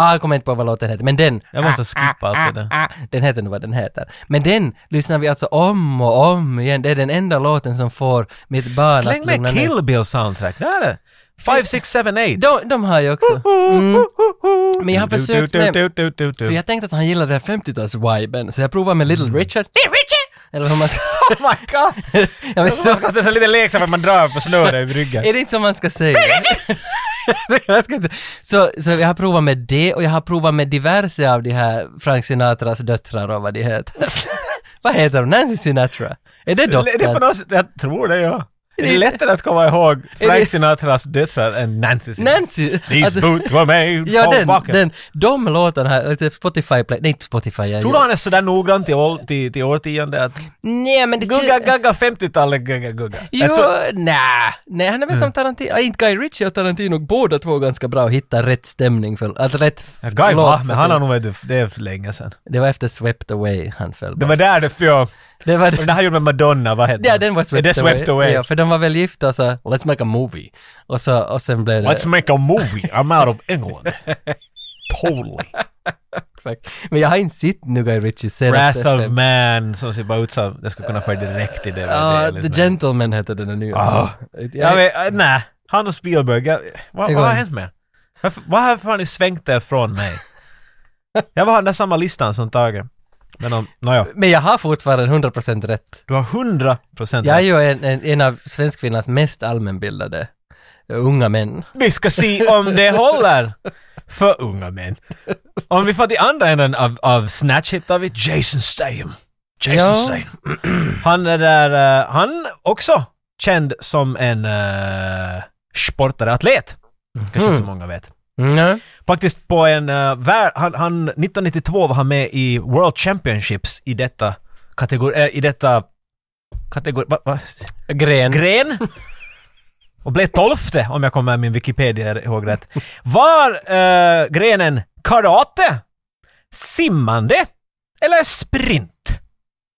Speaker 1: Ah, jag kommer inte på vad låten heter, men den...
Speaker 2: Jag måste skippa allt det där.
Speaker 1: Ah, den heter nog vad den heter. Men den lyssnar vi alltså om och om igen. Det är den enda låten som får mitt barn
Speaker 2: Släng
Speaker 1: att lugna
Speaker 2: med
Speaker 1: ner
Speaker 2: Kill Bill soundtrack, där är det! 5, 6, 7, 8!
Speaker 1: De, de har jag också. Mm. Men jag har försökt med- För jag tänkte att han gillade den här 50-tals-viben, så jag provar med Little Richard. Little Richard! Eller hur man ska säga.
Speaker 2: Mm. Oh my god!
Speaker 1: Jag vet
Speaker 2: Det
Speaker 1: inte,
Speaker 2: ska nästan lite leksak att man drar på snöret i ryggen.
Speaker 1: är det inte så man ska säga? Jag ska inte- så, så jag har provat med det och jag har provat med diverse av de här Frank Sinatras döttrar och vad de heter. vad heter hon? Nancy Sinatra? Är det
Speaker 2: Det är på
Speaker 1: dottern?
Speaker 2: något sätt, jag tror det ja. Det
Speaker 1: det-
Speaker 2: är lättare att komma ihåg
Speaker 1: det-
Speaker 2: Frank Sinatras döttrar än Nancy Sinatra.
Speaker 1: Nancy?
Speaker 2: These
Speaker 1: Alltså,
Speaker 2: boots were made
Speaker 1: ja,
Speaker 2: for
Speaker 1: den,
Speaker 2: walking.
Speaker 1: den. De låtarna här, lite Spotify, play, nej inte Spotify. jag
Speaker 2: Tror du han är sådär noggrann till, ål- till, till årtionde att
Speaker 1: Nej men det...
Speaker 2: gugga gugga 50-talet gugga gugga?
Speaker 1: Jo,
Speaker 2: Jag tror-
Speaker 1: nej. Nej, han är väl
Speaker 2: Mm.
Speaker 1: som Tarantino. Ah, Inte Guy Ritchie och Tarantino, båda två ganska bra att hitta rätt stämning för... Att rätt f-
Speaker 2: Ja, Guy
Speaker 1: låt
Speaker 2: va,
Speaker 1: för
Speaker 2: men han har
Speaker 1: film.
Speaker 2: nog varit, det är för länge sedan.
Speaker 1: Det var efter Swept Away han föll
Speaker 2: Det var
Speaker 1: bort.
Speaker 2: där det, för jag,
Speaker 1: Det var
Speaker 2: Och den här gjorde med Madonna, vad hette
Speaker 1: Ja, den var Swept
Speaker 2: Är det Swept Away?
Speaker 1: Ja, för de var väl gifta och så “Let's make a movie” och, så, och sen blev det...
Speaker 2: Let's make a movie, I'm out of England. totally.
Speaker 1: Exakt. Men jag har inte sett nu Guy Ritchie senaste
Speaker 2: Wrath of
Speaker 1: fem-
Speaker 2: Man, som ser bara ut som, det skulle kunna få direkt i DVD.
Speaker 1: Ja,
Speaker 2: eller
Speaker 1: The
Speaker 2: nåt.
Speaker 1: Gentleman hette den nya.
Speaker 2: Ah. Ja, men, äh, nej. Han och Spielberg, jag, vad,
Speaker 1: Det går
Speaker 2: vad har
Speaker 1: inte.
Speaker 2: hänt med Varför- Vad har fan ni svängt det från mig? jag var den där samma listan som Tage. Men om, nåja.
Speaker 1: men jag har fortfarande 100% rätt.
Speaker 2: Du har 100 procent
Speaker 1: Jag är ju en, en, en av svenskkvinnans mest allmänbildade eh, unga män.
Speaker 2: Vi ska se om det håller för unga män. Om vi får till andra änden av, av Snatch hittar vi Jason Statham. Jason
Speaker 1: Ja.
Speaker 2: Statham. Han är där, eh, han också känd som en uh, sportare, atlet. Kanske inte så
Speaker 1: Mhm.
Speaker 2: många vet.
Speaker 1: Mm.
Speaker 2: Faktiskt på en, eh, vär, han, han, 1992 var han med i World Championships i detta kategori, eh, i detta kategori, va, va?
Speaker 1: Gren.
Speaker 2: gren. Och blev tolfte, om jag kommer min Wikipedia ihåg rätt. Var eh, grenen karate, simmande eller sprint?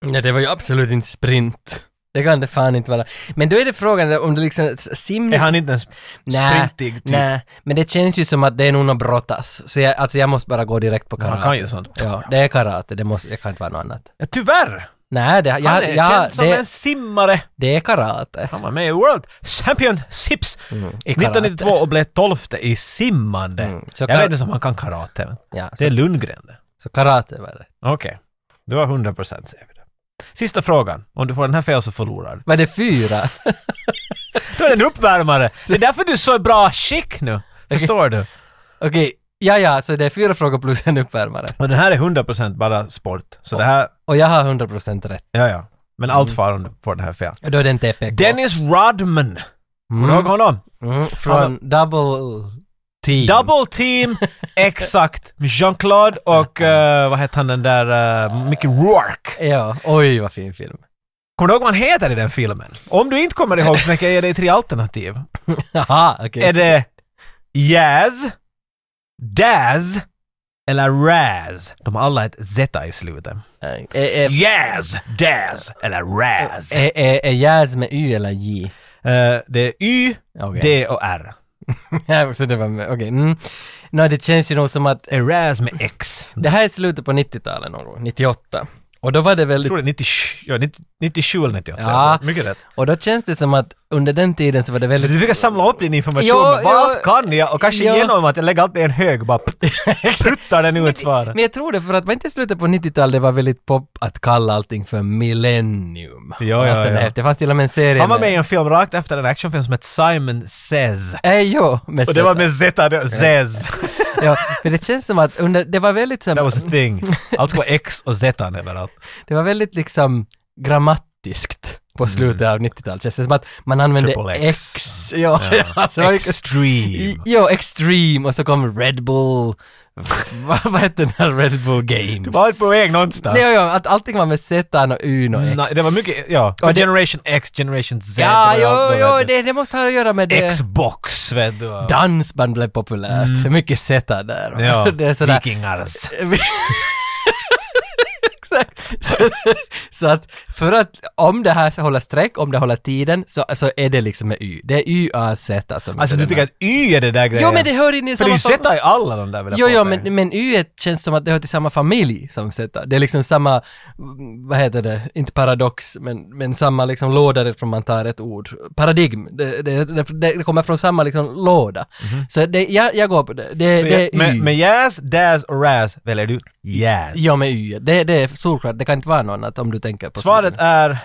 Speaker 1: Nej, det var ju absolut inte sprint. Det kan det fan inte vara. Men då är det frågan om det liksom s- simning...
Speaker 2: Är han inte en sp-
Speaker 1: Nä,
Speaker 2: sprintig typ?
Speaker 1: Nej, men det känns ju som att det är nog något brottas. Så jag, alltså jag måste bara gå direkt på karate.
Speaker 2: Han kan ju sånt.
Speaker 1: Ja, det är karate. Det måste, det kan inte vara något annat.
Speaker 2: Ja, tyvärr.
Speaker 1: Nej, det, jag,
Speaker 2: Han är
Speaker 1: jag,
Speaker 2: känd som
Speaker 1: det,
Speaker 2: en simmare.
Speaker 1: det är karate.
Speaker 2: Han var med i World Championships
Speaker 1: I karate.
Speaker 2: 1992 och blev tolfte i simmande.
Speaker 1: Mm, så
Speaker 2: Jag
Speaker 1: kar-
Speaker 2: vet inte om han kan karate. men
Speaker 1: Ja, så,
Speaker 2: Det är Lundgren det.
Speaker 1: så karate var det.
Speaker 2: Okej. Du har 100 procent säger vi det. Sista frågan. Om du får den här fel så förlorar du.
Speaker 1: Var det fyra?
Speaker 2: Då är den uppvärmare. Det är därför du är så i bra skick nu. Förstår du?
Speaker 1: Okej, ja, ja, så det är fyra frågor plus en uppvärmare.
Speaker 2: Och den här är 100 procent bara sport. Så det här,
Speaker 1: Och jag har 100% rätt.
Speaker 2: ja ja. Men allt far om du får den här fel.
Speaker 1: Och då är det en TPK.
Speaker 2: Mm. Dennis Rodman. Kommer du ihåg
Speaker 1: mm,
Speaker 2: honom?
Speaker 1: mm, från Double Team.
Speaker 2: Alltså- Double team, exakt. Med Jean-Claude och eh, vad heter han den där, uh, Mickey Rourke.
Speaker 1: Ja, oj vad fin film.
Speaker 2: Kommer du ihåg vad han heter i den filmen? Om du inte kommer ihåg så tänker jag ge dig tre alternativ.
Speaker 1: Jaha, okej.
Speaker 2: Är det Jazz, Daz eller Raz? De har alla ett Z i slutet.
Speaker 1: Är, Äh, är, är,
Speaker 2: Jazz, Daz eller Raz.
Speaker 1: är, är, är jazz med Y eller J?
Speaker 2: Eh, det är Y,
Speaker 1: Okej.
Speaker 2: D och R.
Speaker 1: Ja, så det var med, okej. Mm. Nå, det känns ju nog som att
Speaker 2: Är Raz med X.
Speaker 1: det här är slutet på 90-talet någon gång, 98. Och då var det
Speaker 2: Jag
Speaker 1: väldigt,
Speaker 2: tror det är 97, ja, 90 97 eller 98.
Speaker 1: Ja.
Speaker 2: Mycket rätt.
Speaker 1: och då känns det som att under den tiden så var det väldigt...
Speaker 2: Du försöker samla upp din information,
Speaker 1: Jo,
Speaker 2: men vad
Speaker 1: jo.
Speaker 2: allt kan jag? Och kanske
Speaker 1: Jo.
Speaker 2: genom att jag lägger allt i en hög bara pruttar den ut svaret.
Speaker 1: Men jag tror det, för att var inte i slutet på 90-talet det var väldigt pop att kalla allting för millennium.
Speaker 2: Ja, ja,
Speaker 1: alltså,
Speaker 2: ja.
Speaker 1: nej, Det fanns till och med en serie
Speaker 2: Han var med i en film rakt efter en actionfilm som hette Simon Says.
Speaker 1: Eh, jo, med
Speaker 2: Och det var
Speaker 1: Z.
Speaker 2: med Z, det- Says.
Speaker 1: ja, men det känns som att under, det var väldigt
Speaker 2: That
Speaker 1: som,
Speaker 2: was a thing. Allt ska vara X och Z överallt.
Speaker 1: det var väldigt liksom grammatiskt på slutet av 90-talet. Känns det som att man använde
Speaker 2: Mm. Triple X.
Speaker 1: X. Ja, ja. alltså, det var ju-
Speaker 2: Extreme.
Speaker 1: Jo, Extreme och så kom Red Bull. vad, vad hette den här Red Bull Games?
Speaker 2: Du var på väg någonstans.
Speaker 1: Nej, ja, att allting var med Z och U och X.
Speaker 2: Nej, det var mycket, ja.
Speaker 1: Och det-
Speaker 2: Generation X, Generation Z.
Speaker 1: ja,
Speaker 2: det var allt
Speaker 1: jo,
Speaker 2: det där.
Speaker 1: jo, det, det måste ha att göra med det. Mm.
Speaker 2: Xbox, vet du. och-
Speaker 1: Dansband blev populärt. Mycket Z där.
Speaker 2: Ja, Alltså,
Speaker 1: det är sådär.
Speaker 2: vikingars.
Speaker 1: Exakt. Så, så att för att om det här håller streck, om det håller tiden, så, så är det liksom med Y. Det är Y, A, Z som
Speaker 2: Alltså du
Speaker 1: den
Speaker 2: tycker
Speaker 1: här-
Speaker 2: att Y är det där grejen?
Speaker 1: Jo men det hör in i
Speaker 2: För det är
Speaker 1: samma...
Speaker 2: ju
Speaker 1: fam-
Speaker 2: Z i alla de där vill jag
Speaker 1: Jo, jo,
Speaker 2: påpeka.
Speaker 1: men, men Y är- känns som att det hör till samma familj som Z. Det är liksom samma, mm, vad heter det, inte paradox, men, men samma liksom låda därifrån man tar ett ord. Paradigm, det, det, det, det kommer från samma liksom låda. Så det, jag, jag går på det. Det,
Speaker 2: Mhm. Så
Speaker 1: det är
Speaker 2: jag- men,
Speaker 1: Y.
Speaker 2: men Jazz, Daz och Raz väljer du Jazz.
Speaker 1: Ja, med Y. Det, det är solklart, det kan inte vara något annat om du tänker på
Speaker 2: Svaret är...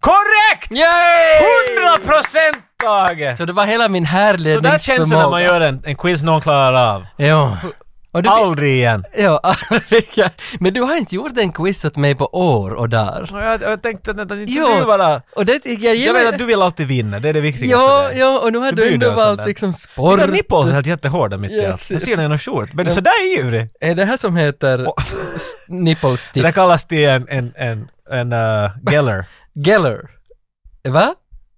Speaker 2: Korrekt!
Speaker 1: Yay!
Speaker 2: 100 procent Tage!
Speaker 1: Så det var hela min
Speaker 2: Så där känns det
Speaker 1: härledningsförmåga.
Speaker 2: när man gör en, en quiz någon klarar av.
Speaker 1: Ja. Och du,
Speaker 2: Aldrig igen.
Speaker 1: ja, men du har inte gjort en quiz åt mig på år och där.
Speaker 2: Och Jag, jag tänkte att det inte
Speaker 1: Jo.
Speaker 2: du bara...
Speaker 1: Och det tycker jag
Speaker 2: Jag
Speaker 1: gillar.
Speaker 2: vet att du vill alltid vinna, det är det viktiga för
Speaker 1: Ja,
Speaker 2: dig.
Speaker 1: ja, och nu har
Speaker 2: Du bryr
Speaker 1: du ändå
Speaker 2: dig om sånt
Speaker 1: valt
Speaker 2: där.
Speaker 1: liksom
Speaker 2: Dina
Speaker 1: sport.
Speaker 2: nipples är helt jättehårda mitt i
Speaker 1: Ja,
Speaker 2: allt. Jag ser den genom skjort. Men sådär är ju det.
Speaker 1: Är det här som heter
Speaker 2: Och-
Speaker 1: s- nipple
Speaker 2: Det
Speaker 1: stiff?
Speaker 2: där kallas till en, en, en, en uh, Geller
Speaker 1: Geller? Va?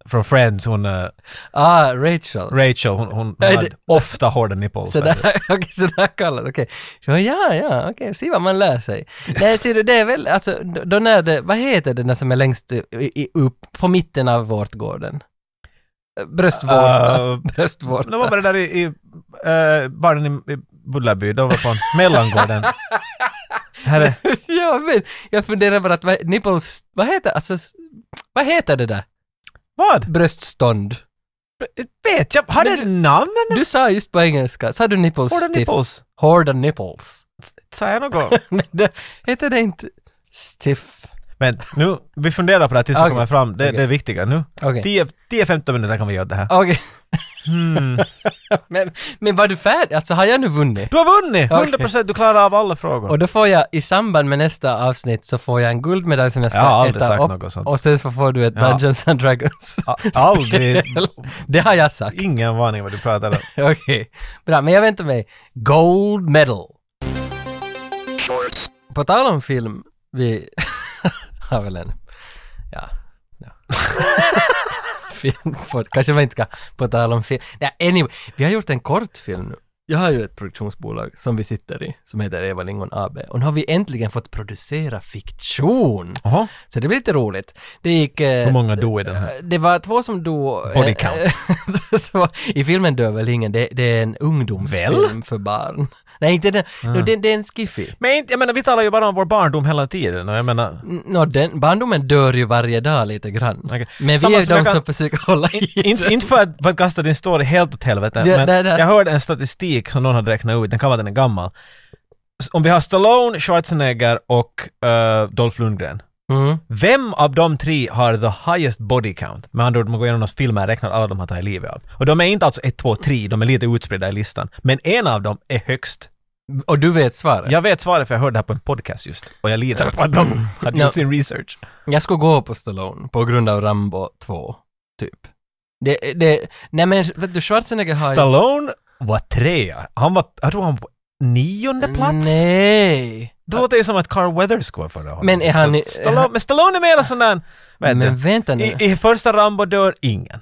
Speaker 2: från Friends. Hon, uh,
Speaker 1: Ah, Rachel.
Speaker 2: Rachel, hon, hon, hon
Speaker 1: Nej,
Speaker 2: hade
Speaker 1: det-
Speaker 2: ofta hårda nipples.
Speaker 1: Så där, okej, så där kallat, okej. Ja, ja, ja, okej, se vad man lär sig. Nej, ser du, det är väl, alltså, då då när det, vad heter det när som är längst i, i, upp, på mitten av vårtgården? Eh, Bröstvårta,
Speaker 2: Uh,
Speaker 1: bröstvårta.
Speaker 2: De var bara där i, i eh, barnen i, i Bullaby, de var på mellangården. Här är,
Speaker 1: ja, men jag funderar bara att, vad, nipples, vad heter, alltså, s- vad heter det där?
Speaker 2: vad?
Speaker 1: Bröststånd.
Speaker 2: Vet jag? Har det
Speaker 1: Men
Speaker 2: ett namn?
Speaker 1: Du sa just på engelska, sa du nipples
Speaker 2: Hårda
Speaker 1: stiff?
Speaker 2: nipples?
Speaker 1: Hårda nipples.
Speaker 2: Sa jag något?
Speaker 1: Men det, heter det inte stiff?
Speaker 2: Men nu, vi funderar på det här tills vi
Speaker 1: Ah, Okej.
Speaker 2: kommer fram. Det,
Speaker 1: Okej.
Speaker 2: det är viktiga nu.
Speaker 1: Okej. Ah.
Speaker 2: 10 10-15 minuter kan vi göra det här.
Speaker 1: Okej,
Speaker 2: Hmm.
Speaker 1: men, men var du färdig? Alltså har jag nu vunnit?
Speaker 2: Du har vunnit!
Speaker 1: Okej.
Speaker 2: 100% du klarar av alla frågor.
Speaker 1: Och då får jag i samband med nästa avsnitt så får jag en guldmedalj som jag ska
Speaker 2: Jag har aldrig
Speaker 1: äta
Speaker 2: sagt
Speaker 1: upp.
Speaker 2: något sånt.
Speaker 1: Och sen så får du ett
Speaker 2: Ja.
Speaker 1: Dungeons and Dragons.
Speaker 2: A- Aldrig.
Speaker 1: Det har jag sagt.
Speaker 2: Ingen aning vad du pratar om.
Speaker 1: Okej, bra. Men jag väntar mig. Gold medal. På tal om film, vi har väl en... Ja. ja. film, på, kanske man inte ska på tal om film. Nej, anyway. Vi har gjort en kortfilm nu. Jag har ju ett produktionsbolag som vi sitter i, som heter Eva Lingon AB. Och nu har vi äntligen fått producera fiktion.
Speaker 2: Jaha.
Speaker 1: Så det blir lite roligt. Det gick... eh,
Speaker 2: Hur många do är den här?
Speaker 1: det var två som då...
Speaker 2: Body count.
Speaker 1: Det var- I filmen dör väl ingen, det, det är en ungdomsfilm för barn. Nej, inte den. No, det, det är en skiffy.
Speaker 2: Men inte, jag menar, vi talar ju bara om vår barndom hela tiden och jag menar...
Speaker 1: No, den, barndomen dör ju varje dag lite grann.
Speaker 2: Okej.
Speaker 1: Men vi
Speaker 2: Samma
Speaker 1: är de
Speaker 2: som jag kan-
Speaker 1: som försöker hålla i
Speaker 2: Inte,
Speaker 1: det.
Speaker 2: inte för, att, för att kasta din story helt åt helvete,
Speaker 1: Det-
Speaker 2: men
Speaker 1: det- det-
Speaker 2: jag hörde en statistik som någon hade räknat ut, den kan vara den är gammal. S- Om vi har Stallone, Schwarzenegger och eh, Dolph Lundgren.
Speaker 1: Mm.
Speaker 2: Vem av de tre har the highest body count? Med andra ord, man går igenom någons filmer och räknar alla de har tagit livet av. Och de är inte alltså 1, 2, 3, de är lite utspridda i listan. Men en av dem är högst.
Speaker 1: Och du vet svaret.
Speaker 2: Jag vet svaret för jag hörde det här på en podcast just. Och jag litar på att de hade
Speaker 1: No.
Speaker 2: gjort sin research.
Speaker 1: Jag skulle gå på Stallone på grund av Rambo 2, typ. Det, det, nej men vet du, Schwarzenegger har ju-
Speaker 2: Stallone var trea. Han var, jag tror han var på nionde plats.
Speaker 1: Nej!
Speaker 2: Då låter det ju som att Carl Weathers går före honom.
Speaker 1: Men är han-
Speaker 2: Så Stallone,
Speaker 1: är han-
Speaker 2: men Stallone är mera sån där... Vet
Speaker 1: Men
Speaker 2: du,
Speaker 1: vänta nu.
Speaker 2: i, I första Rambo dör ingen.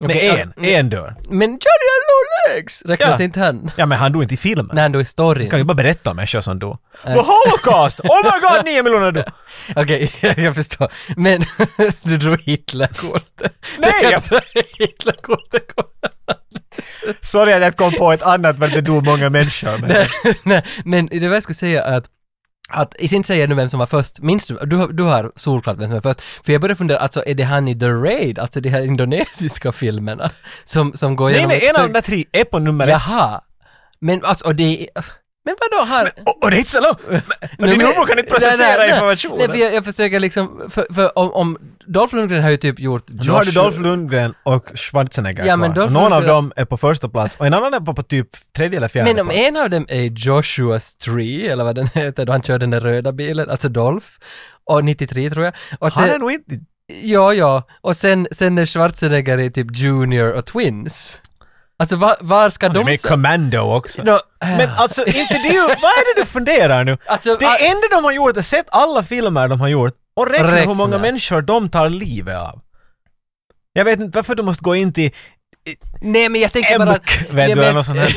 Speaker 2: Men
Speaker 1: Okej, ja,
Speaker 2: en, en dör.
Speaker 1: Men Johnny har no legs! Räknas
Speaker 2: Ja.
Speaker 1: inte han?
Speaker 2: Ja men han dog inte i filmen.
Speaker 1: När han då är storyn.
Speaker 2: Jag kan ju bara berätta om människor som dog.
Speaker 1: Äh.
Speaker 2: The Holocaust! Oh my god, nio miljoner dog!
Speaker 1: Okej, jag förstår. Men du drog Hitlerkortet.
Speaker 2: Nej,
Speaker 1: Det kan
Speaker 2: jag-
Speaker 1: vara Hitlerkortet kom.
Speaker 2: Sorry att jag kom på ett annat men det dog många människor. Men...
Speaker 1: Nej, men det var jag skulle säga att att, i sin säger nu vem som var först, minns du? Du, har- du har solklart vem som var först. För jag började fundera, alltså är det han i The Raid, alltså de här indonesiska filmerna? Som, som går
Speaker 2: Nej,
Speaker 1: igenom...
Speaker 2: nej,
Speaker 1: ett
Speaker 2: en av
Speaker 1: stort-
Speaker 2: de där tre är på nummer ett.
Speaker 1: Jaha! Men alltså, och det... Men vadå, har...
Speaker 2: Och, och det är inte så långt. Men
Speaker 1: Nej,
Speaker 2: din
Speaker 1: men-
Speaker 2: huvud kan inte
Speaker 1: Nej,
Speaker 2: processera
Speaker 1: nej, nej.
Speaker 2: informationen.
Speaker 1: Nej, för jag, jag försöker liksom, för, för om, om Dolph Lundgren har ju typ gjort Josh...
Speaker 2: nu har du Dolph Lundgren och Schwarzenegger
Speaker 1: Ja,
Speaker 2: kvar.
Speaker 1: men
Speaker 2: Och
Speaker 1: Dolph
Speaker 2: Någon av
Speaker 1: Lundgren-
Speaker 2: dem är på första plats och en annan är på, på typ tredje eller fjärde
Speaker 1: Men om
Speaker 2: plats.
Speaker 1: en av dem är Joshua's Tree, eller vad den heter, då han kör den där röda bilen, alltså Dolph, och 93 tror jag. Och
Speaker 2: Han är
Speaker 1: sen,
Speaker 2: nog inte...
Speaker 1: ja, ja, och sen, sen är Schwarzenegger i typ Junior och Twins. Alltså var, var ska
Speaker 2: Han är med
Speaker 1: de...
Speaker 2: i Commando också.
Speaker 1: No,
Speaker 2: Men alltså, inte det, vad är det du funderar nu?
Speaker 1: alltså,
Speaker 2: Det
Speaker 1: ah,
Speaker 2: enda de har gjort är sett alla filmer de har gjort och räkna,
Speaker 1: Räkna.
Speaker 2: hur många människor de tar livet av. Jag vet inte varför du måste gå in till
Speaker 1: nej men jag tänker bara...
Speaker 2: Emk, vet
Speaker 1: Ja,
Speaker 2: du,
Speaker 1: men-
Speaker 2: eller något sånt här.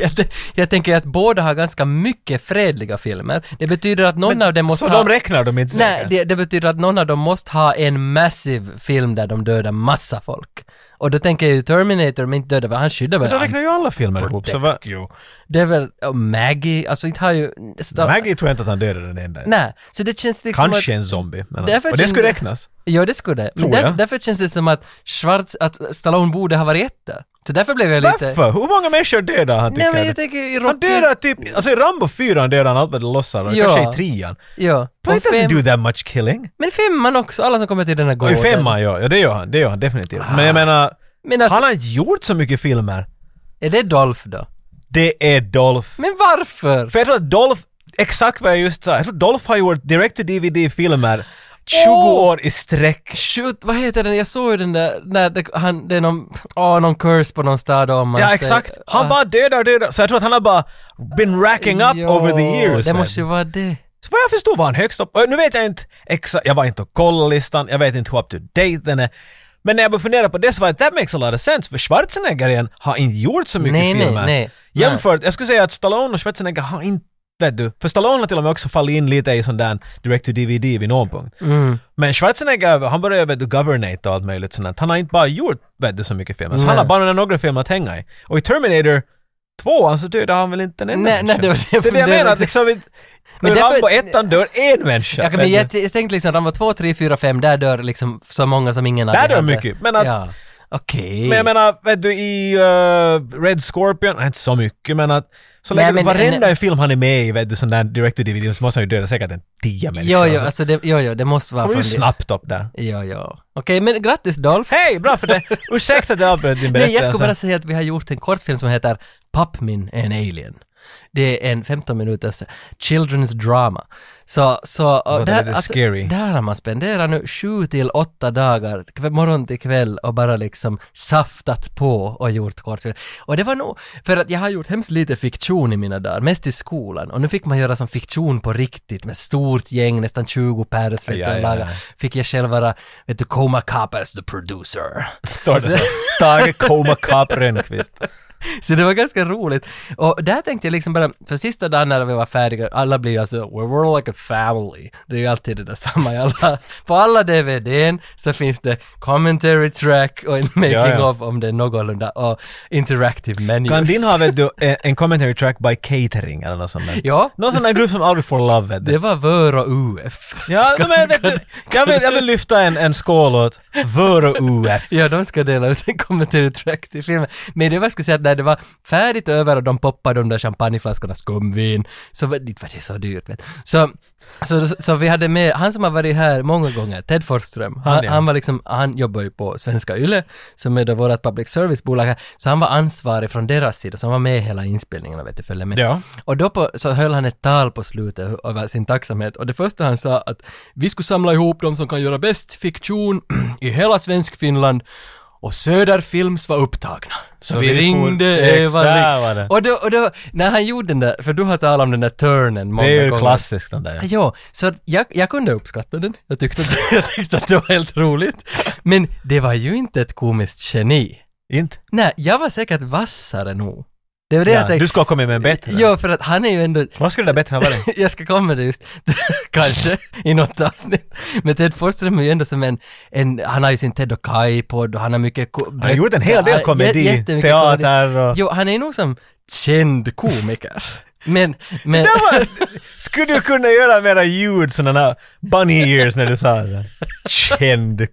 Speaker 1: jag, t- jag tänker att båda har ganska mycket fredliga filmer. Det betyder att någon av dem måste
Speaker 2: Så
Speaker 1: ha...
Speaker 2: de räknar de inte
Speaker 1: Nej,
Speaker 2: säkert.
Speaker 1: det, det betyder att någon av dem måste ha en massiv film där de dödar massa folk. Och då tänker jag ju Terminator, men inte dödar väl, han skyddar väl
Speaker 2: Men de räknar ju alla filmer ihop, så vad...
Speaker 1: Det är väl, och Maggie, alltså inte har ju... Sta-
Speaker 2: Maggie tror jag inte att han dödade den enda.
Speaker 1: Nej, så det känns liksom
Speaker 2: Kanske
Speaker 1: att...
Speaker 2: en zombie. Men
Speaker 1: Därför
Speaker 2: och det skulle
Speaker 1: kände-
Speaker 2: räknas.
Speaker 1: Ja, det skulle det. Men
Speaker 2: Tror
Speaker 1: där,
Speaker 2: jag.
Speaker 1: därför känns det som att Schwarz, att Stallone borde ha varit etta. Så därför blev jag lite...
Speaker 2: Varför? Hur många människor dödar han tycker
Speaker 1: Nej, men
Speaker 2: du?
Speaker 1: jag tänker i
Speaker 2: Han
Speaker 1: Rocky...
Speaker 2: dödar typ, alltså i Rambo 4 dödar han allt vad det lossar och
Speaker 1: Ja.
Speaker 2: kanske i trean.
Speaker 1: Ja.
Speaker 2: But
Speaker 1: Och
Speaker 2: it doesn't
Speaker 1: fem...
Speaker 2: do that much killing.
Speaker 1: Men femman också, alla som kommer till den här
Speaker 2: Och i
Speaker 1: gården.
Speaker 2: femman ja, ja det gör han, det gör han definitivt. Men jag menar,
Speaker 1: Men alltså,
Speaker 2: han har inte gjort så mycket filmer.
Speaker 1: är det Dolph då?
Speaker 2: Det är Dolph.
Speaker 1: Men varför?
Speaker 2: För jag tror att Dolph, exakt vad jag just sa, jag tror Dolph har gjort direct-to-DVD-filmer 20
Speaker 1: Åh!
Speaker 2: år i sträck.
Speaker 1: Shoot, vad heter den? Jag såg ju den där, när det, han, det är någon, åh, någon curse på någon stad om man
Speaker 2: Ja
Speaker 1: säger-
Speaker 2: exakt, han
Speaker 1: ah,
Speaker 2: bara dödar och dödar. Så jag tror att han har bara been racking up
Speaker 1: ja,
Speaker 2: over the years.
Speaker 1: Det
Speaker 2: man.
Speaker 1: måste ju vara det.
Speaker 2: Så vad jag förstod var han högst upp. Och nu vet jag inte exakt, jag var inte och kollade listan, jag vet inte hur up to date den är. Men när jag började fundera på det så var det that makes a lot of sense för Schwarzenegger igen har inte gjort så mycket
Speaker 1: Nej, nej,
Speaker 2: filmer.
Speaker 1: nej.
Speaker 2: Jämfört, jag skulle säga att Stallone och Schwarzenegger har inte, vet du, för Stallone har till och med också fallit in lite i sån där direct to DVD vid någon punkt.
Speaker 1: Mm.
Speaker 2: Men Schwarzenegger, han började vet du, governate och allt möjligt sånt där. Han har inte bara gjort, vet du, så mycket filmer. Så
Speaker 1: Nej.
Speaker 2: han har bara några filmer att hänga i. Och i Terminator alltså, 2 så dödade han väl inte en enda
Speaker 1: Nej, nej, det var det jag
Speaker 2: det är det jag
Speaker 1: funderade
Speaker 2: menar, att
Speaker 1: på.
Speaker 2: liksom... i-
Speaker 1: Men
Speaker 2: Men
Speaker 1: därför-
Speaker 2: Rambo 1 dör en människa.
Speaker 1: Jag, kan,
Speaker 2: vet
Speaker 1: men
Speaker 2: du.
Speaker 1: jag, jag tänkte liksom, Rambo 2, 3, 4, 5, där dör liksom så många som ingen av
Speaker 2: Där
Speaker 1: de
Speaker 2: dör
Speaker 1: hade.
Speaker 2: mycket, men att-
Speaker 1: Ja. Okej.
Speaker 2: Men jag menar, vet du i eh, Red Scorpion, nej, inte så mycket men att så
Speaker 1: Nej, men-
Speaker 2: länge varenda film han är med i, vet du, sån där direct to DVD så måste han ju döda säkert en tio
Speaker 1: Jo,
Speaker 2: människor.
Speaker 1: jo,
Speaker 2: Alltså,
Speaker 1: alltså det, jo, jo, det måste vara
Speaker 2: han var ju
Speaker 1: det.
Speaker 2: snabbt upp där.
Speaker 1: Jo, jo. Okej, men grattis Dolph.
Speaker 2: Hej, bra för det! Ursäkta att jag avbröt din
Speaker 1: Nej,
Speaker 2: berättelse.
Speaker 1: jag skulle bara säga att vi har gjort en kortfilm som heter Pappmin, en alien. Det är en 15 minuters children's drama. Så, så, och
Speaker 2: Låter
Speaker 1: där, alltså,
Speaker 2: lite scary.
Speaker 1: där har man spenderat nu 7 till 8 dagar, kv- morgon till kväll och bara liksom saftat på och gjort kortfilm. Och det var nog, för att jag har gjort hemskt lite fiktion i mina dagar, mest i skolan. Och nu fick man göra som fiktion på riktigt med stort gäng, nästan 20 pers, vet
Speaker 2: Ja,
Speaker 1: du, och
Speaker 2: ja,
Speaker 1: laga.
Speaker 2: ja.
Speaker 1: Fick jag själv vara, vet du, Coma Kappas, the producer.
Speaker 2: Står det så? Tage Koma Kap Rönnqvist.
Speaker 1: Så det var ganska roligt. Och där tänkte jag liksom bara, för sista dagen när vi var färdiga, alla blir ju alltså “We're more like a family”. Det är ju alltid det där samma i alla, på alla DVDn så finns det commentary track och en making
Speaker 2: Ja, ja.
Speaker 1: of om det är någorlunda och interactive menus.
Speaker 2: Kan din ha, vet du, en en commentary track by Catering eller något sånt där?
Speaker 1: Ja.
Speaker 2: Någon sån där grupp som aldrig får love, vet du.
Speaker 1: Det var Vör och UF.
Speaker 2: Ja, men vet du, jag vill, jag vill lyfta en, en skål åt Vörö UF.
Speaker 1: Ja, de ska dela ut en commentary track till filmen. Men det var, jag skulle säga, att när det var färdigt över och de poppade de där champagneflaskorna skumvin, så var det, var det så dyrt. Vet. du. Så, så, så, så vi hade med, han som har varit här många gånger, Ted Forsström, han,
Speaker 2: ja.
Speaker 1: han var liksom, han jobbar ju på Svenska Yle, som är då vårt public service-bolag här, så han var ansvarig från deras sida, så han var med i hela inspelningen och vet du, följde med.
Speaker 2: Ja.
Speaker 1: Och då på, så höll han ett tal på slutet över sin tacksamhet och det första han sa att vi skulle samla ihop de som kan göra bäst fiktion i hela svensk Finland och Söderfilms var upptagna. Så,
Speaker 2: Så
Speaker 1: vi
Speaker 2: vi
Speaker 1: ringde
Speaker 2: for-
Speaker 1: Eva
Speaker 2: Exakt,
Speaker 1: Ling-
Speaker 2: var det.
Speaker 1: Och då, och då, när han gjorde den där, för du har talat om den där turnen många
Speaker 2: Det är ju
Speaker 1: gånger.
Speaker 2: klassiskt den där.
Speaker 1: Ja, så att jag, jag kunde uppskatta den. Jag tyckte, att, jag tyckte att det var helt roligt. Men det var ju inte ett komiskt geni.
Speaker 2: Inte?
Speaker 1: Nej, jag var säkert vassare nog. Det var det jag
Speaker 2: Ja, du
Speaker 1: tänkte.
Speaker 2: ska ha kommit med en bättre.
Speaker 1: Ja, för att han är ju ändå,
Speaker 2: Vad skulle det bättre ha varit?
Speaker 1: jag ska komma med det just, kanske, i något avsnitt. Men Ted Forsström är ju ändå som en, en han har ju sin Ted och Kai-podd och han har mycket... ko-
Speaker 2: Han har gjort en hel del
Speaker 1: Ja, jä-
Speaker 2: komedi,
Speaker 1: jättemycket komedi.
Speaker 2: teater och...
Speaker 1: Jo, han är nog som känd komiker. Men, men...
Speaker 2: Det var, skulle du kunna göra mera ljud, sådana där bunny ears när du sa det? där? Känd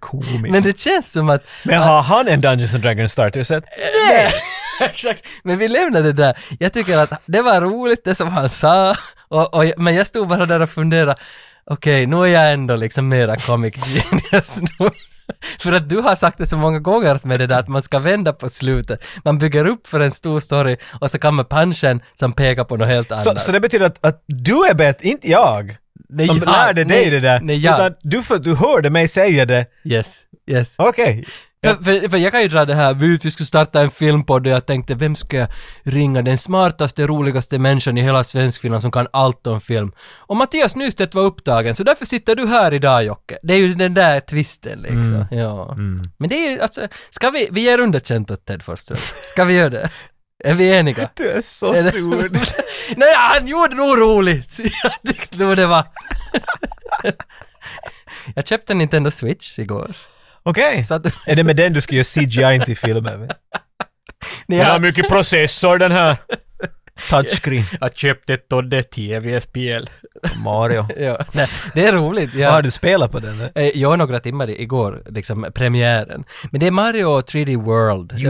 Speaker 2: komiker.
Speaker 1: Men det känns som att...
Speaker 2: Men har han en Dungeons and Dragons starter
Speaker 1: Eh,
Speaker 2: set?
Speaker 1: Nej! Exakt. Men vi lämnar det där. Jag tycker att det var roligt det som han sa, och, och, jag- men jag stod bara där och funderade. Okej, nu är jag ändå liksom mera comic genius nu. För att du har sagt det så många gånger med det där att man ska vända på slutet. Man bygger upp för en stor story och så kommer punchen som pekar på något helt annat.
Speaker 2: Så, så det betyder att, att du är bättre, inte jag.
Speaker 1: Nej,
Speaker 2: som
Speaker 1: jag-
Speaker 2: lärde dig
Speaker 1: nej,
Speaker 2: det där.
Speaker 1: nej, jag.
Speaker 2: Utan du, för, du hörde mig säga det.
Speaker 1: Yes, yes.
Speaker 2: Okej.
Speaker 1: För, för, för jag kan ju dra det här, vi, vi skulle starta en filmpodd och jag tänkte vem ska jag ringa? Den smartaste, roligaste människan i hela svenskfinland som kan allt om film. Och Mattias Nystedt var upptagen, så därför sitter du här idag Jocke. Det är ju den där twisten liksom. Ja. Men det är ju alltså, ska vi, vi ger underkänt åt Ted Forsström. Ska vi göra det? Är vi eniga?
Speaker 2: Du är så
Speaker 1: Är det-
Speaker 2: sur.
Speaker 1: Nej, han gjorde nog roligt! Jag tyckte nog det var... Jag köpte en Nintendo Switch igår.
Speaker 2: Okej.
Speaker 1: Så att...
Speaker 2: Är det med den du ska göra CGI inte i filmen? med?
Speaker 1: Ni
Speaker 2: Den har mycket processor den här. Touchscreen.
Speaker 1: Jag köpte ett Todde TV-spel.
Speaker 2: Mario.
Speaker 1: Ja, nej, det är roligt.
Speaker 2: Vad har
Speaker 1: Jag,
Speaker 2: du spelat på den? där?
Speaker 1: eh, jag har några timmar i- igår, liksom premiären. Men det är Mario 3D World. Jag-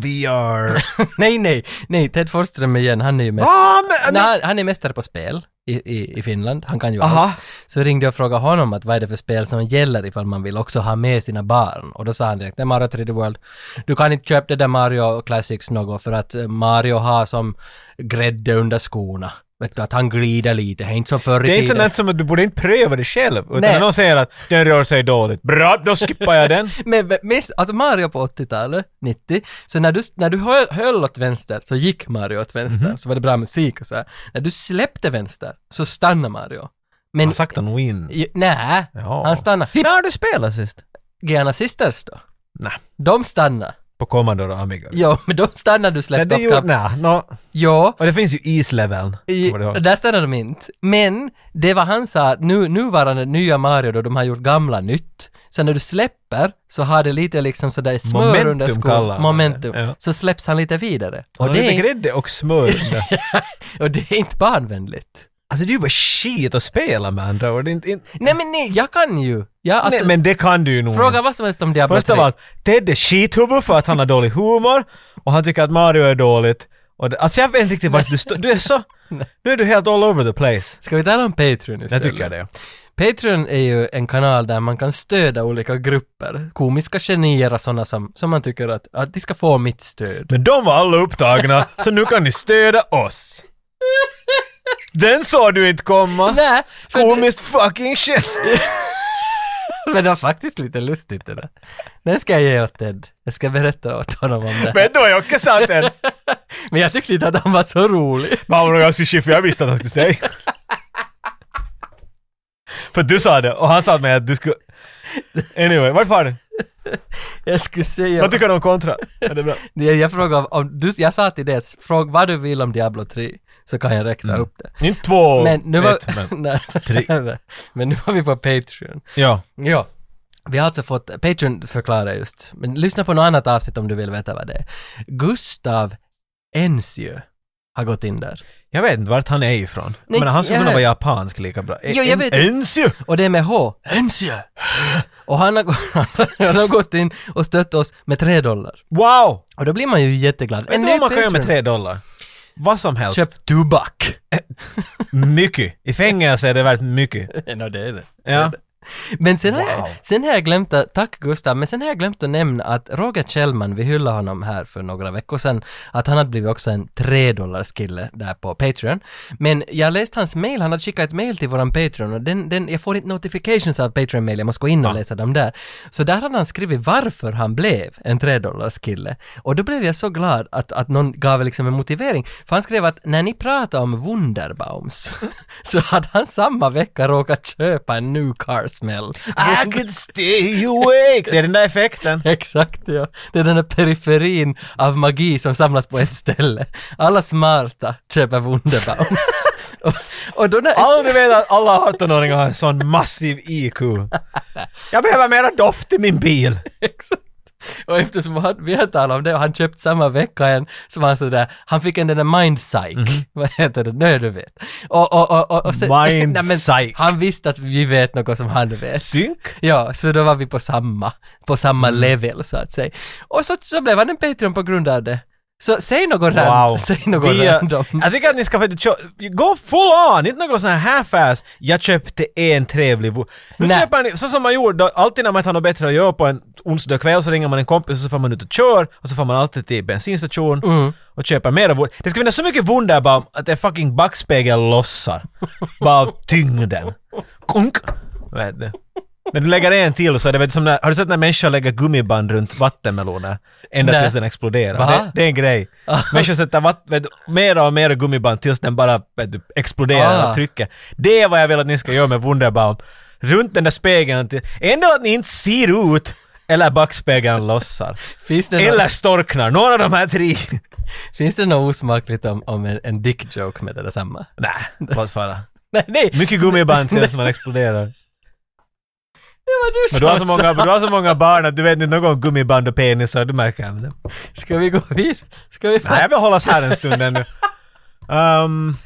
Speaker 2: VR.
Speaker 1: nej, nej, nej, Ted Forsström igen, han är ju mästare.
Speaker 2: ah, men,
Speaker 1: Nej, han- han är mästare på spel i, i, i Finland, han kan ju allt.
Speaker 2: Aha.
Speaker 1: Så ringde jag och frågade honom att vad är det för spel som gäller ifall man vill också ha med sina barn. Och då sa han direkt, det är Mario 3D World. Du kan inte köpa det där Mario Classics något för att eh, Mario har som grädde under skorna. Vet du, att han glider lite, det är inte som förr i
Speaker 2: Det är inte
Speaker 1: tiden.
Speaker 2: sånt som att du borde inte pröva det själv. Utan
Speaker 1: Nej.
Speaker 2: någon säger att den rör sig dåligt. Bra, då skippar jag den.
Speaker 1: Men men, minst, alltså Mario på 80-talet, 90, så när du, när du höll, höll åt vänster så gick Mario åt vänster,
Speaker 2: Mhm.
Speaker 1: så var det bra musik och så här. När du släppte vänster så stannade Mario. Men,
Speaker 2: Han sagt en win.
Speaker 1: i- nej,
Speaker 2: Ja.
Speaker 1: han stannade.
Speaker 2: När har du spelat sist?
Speaker 1: Giana Sisters då?
Speaker 2: Nej.
Speaker 1: De stannade.
Speaker 2: På Commodore och Amiga.
Speaker 1: Jo, men de stannade du
Speaker 2: Nej,
Speaker 1: släppte
Speaker 2: det
Speaker 1: upp
Speaker 2: gjorde...
Speaker 1: knappen.
Speaker 2: Nej, nå.
Speaker 1: Jo,
Speaker 2: Och det finns ju isleveln.
Speaker 1: i,
Speaker 2: Kommer du ihåg?
Speaker 1: där stannade de inte. Men det var han sa, att nu, nuvarande nya Mario då, de har gjort gamla nytt. Så när du släpper så har det lite liksom sådär smör
Speaker 2: Momentum
Speaker 1: under skon.
Speaker 2: kallar man det.
Speaker 1: Momentum.
Speaker 2: Ja.
Speaker 1: Så släpps han lite vidare.
Speaker 2: Och
Speaker 1: det
Speaker 2: det
Speaker 1: är-
Speaker 2: lite grädde och smör under.
Speaker 1: Och det är inte barnvänligt.
Speaker 2: Alltså det är ju bara shit att spela med andra ord. Det är inte- inte-
Speaker 1: Nej men nej, jag kan ju. Jag, alltså,
Speaker 2: Nej, men det kan du ju nog.
Speaker 1: Fråga vad som helst om Diablo
Speaker 2: Först
Speaker 1: 3.
Speaker 2: av allt, Ted är skithuvud för att han har dålig humor och han tycker att Mario är dåligt. Och det, alltså jag vet inte riktigt vart du står. Du är så... Nu är du helt all over the place.
Speaker 1: Ska vi tala om Patreon istället?
Speaker 2: det.
Speaker 1: Patreon är ju en kanal där man kan stödja olika grupper. Komiska genier och sådana som, som man tycker att, att de ska få mitt stöd.
Speaker 2: Men de var alla upptagna, så nu kan ni stödja oss. Den såg du inte komma.
Speaker 1: Nej, för
Speaker 2: Komiskt fucking shit.
Speaker 1: men det var faktiskt lite lustigt det där. Den ska jag ge åt Ted. Jag ska berätta åt honom om det. Men,
Speaker 2: Vet du vad Jocke sa till den?
Speaker 1: jag tyckte inte att han var så rolig.
Speaker 2: Mamma var ganska chiffig, jag visste att han skulle säga. För du sa det, och han sa till mig att du skulle... Anyway, vart far du?
Speaker 1: Jag skulle säga...
Speaker 2: Vad tycker du om kontra? Är det bra?
Speaker 1: jag, jag frågade om... Du, jag sa till dig, att fråga vad du vill om Diablo 3, så kan jag räkna upp det.
Speaker 2: Inte två
Speaker 1: Men nu var...
Speaker 2: Mm. ett, men...
Speaker 1: Nej, men nu var vi på Patreon.
Speaker 2: Ja.
Speaker 1: Ja. Vi har alltså fått, Patreon förklarar just, men lyssna på något annat avsnitt om du vill veta vad det är. Gustav Ensjö har gått in där.
Speaker 2: Jag vet inte vart han är ifrån.
Speaker 1: Nej,
Speaker 2: men han skulle
Speaker 1: jag-
Speaker 2: kunna vara japansk lika bra.
Speaker 1: Jo, jag vet-
Speaker 2: Ens ju!
Speaker 1: Och det är med H, Ensjö! Och han har, gå- han har gått in och stött oss med tre dollar.
Speaker 2: Wow!
Speaker 1: Och då blir man ju jätteglad.
Speaker 2: Vet du vad man kan göra med tre dollar? Vad som helst.
Speaker 1: Köp tobak!
Speaker 2: Mycket. I fängelse är det värt mycket.
Speaker 1: Ja, det är det.
Speaker 2: Ja.
Speaker 1: Men sen, har jag,
Speaker 2: Wow.
Speaker 1: sen har jag glömt att, tack Gustav, men sen har jag glömt att nämna att Roger Kjellman, vi hyllade honom här för några veckor sedan, att han hade blivit också en 3 dollars kille där på Patreon. Men jag läste hans mail, han hade skickat ett mail till våran Patreon och den, den, jag får inte notifications av Patreon-mail, jag måste gå in och läsa dem där. Så där hade han skrivit varför han blev en 3 dollars kille. Och då blev jag så glad att, att någon gav liksom en motivering, för han skrev att när ni pratar om Wunderbaums så hade han samma vecka råkat köpa en new car smell.
Speaker 2: I could stay awake! Det är den där effekten.
Speaker 1: Exakt ja. Det är den där periferin av magi som samlas på ett ställe. Alla smarta köper Wunderbaums. och, och då när...
Speaker 2: Aldrig vet att alla 18-åringar har en sån massiv IQ. Jag behöver mera doft i min bil.
Speaker 1: Exakt. Och eftersom han, vi har talat om det och han köpt samma vecka en, så var han sådär, han fick en den där mindpsych.
Speaker 2: Mhm.
Speaker 1: Vad heter det? Nu du vet. Och, och, och, och, och sen,
Speaker 2: Mind
Speaker 1: Nej, men
Speaker 2: psych.
Speaker 1: Han visste att vi vet något som han vet.
Speaker 2: Synk?
Speaker 1: Ja, så då var vi på samma, på samma
Speaker 2: Mm.
Speaker 1: level så att säga. Och så, så blev han en Patreon på grund av det. Så säg något
Speaker 2: Wow.
Speaker 1: random. Säg något
Speaker 2: Vi, eh,
Speaker 1: random.
Speaker 2: Jag tycker att ni ska faktiskt kö- gå full on, inte något sån här half-ass. Jag köpte en trevlig bo- Nu
Speaker 1: Nej.
Speaker 2: köper ni, så som man gjorde då, alltid när man inte har något bättre att göra på en onsdag kväll så ringer man en kompis och så får man ut och kör och så får man alltid till bensinstation
Speaker 1: Mm.
Speaker 2: och köper mer av vår- Det ska finnas så mycket Wunderbaum att en fucking backspegel lossar. Bara av tyngden. Kunk! Vet du. När du lägger en till så är det väl som när, har du sett när människor lägger gummiband runt vattenmeloner? Ända
Speaker 1: Nej.
Speaker 2: tills den exploderar.
Speaker 1: Va?
Speaker 2: Det, det är en grej. Människor sätter vatt, vet, du, mer och mer gummiband tills den bara vet, du, exploderar
Speaker 1: Ah.
Speaker 2: och trycker. Det är vad jag vill att ni ska göra med Wunderbaum. Runt den där spegeln. till- Endera att ni inte ser ut eller backspegeln lossar.
Speaker 1: Finns det,
Speaker 2: Eller
Speaker 1: något,
Speaker 2: storknar. Några av de här tre.
Speaker 1: finns det något osmakligt om, om en, en dick joke med det där samma?
Speaker 2: Nej, låt fara.
Speaker 1: Nej, nej!
Speaker 2: Mycket gummiband tills man exploderar.
Speaker 1: Det var du
Speaker 2: Men du har, så
Speaker 1: som
Speaker 2: många,
Speaker 1: sa!
Speaker 2: du har så många barn att du vet inte någon gång gummiband och penisar, du märker av det.
Speaker 1: Ska vi gå vidare? Ska vi...
Speaker 2: Nej, jag vill hållas här en stund ännu. Um,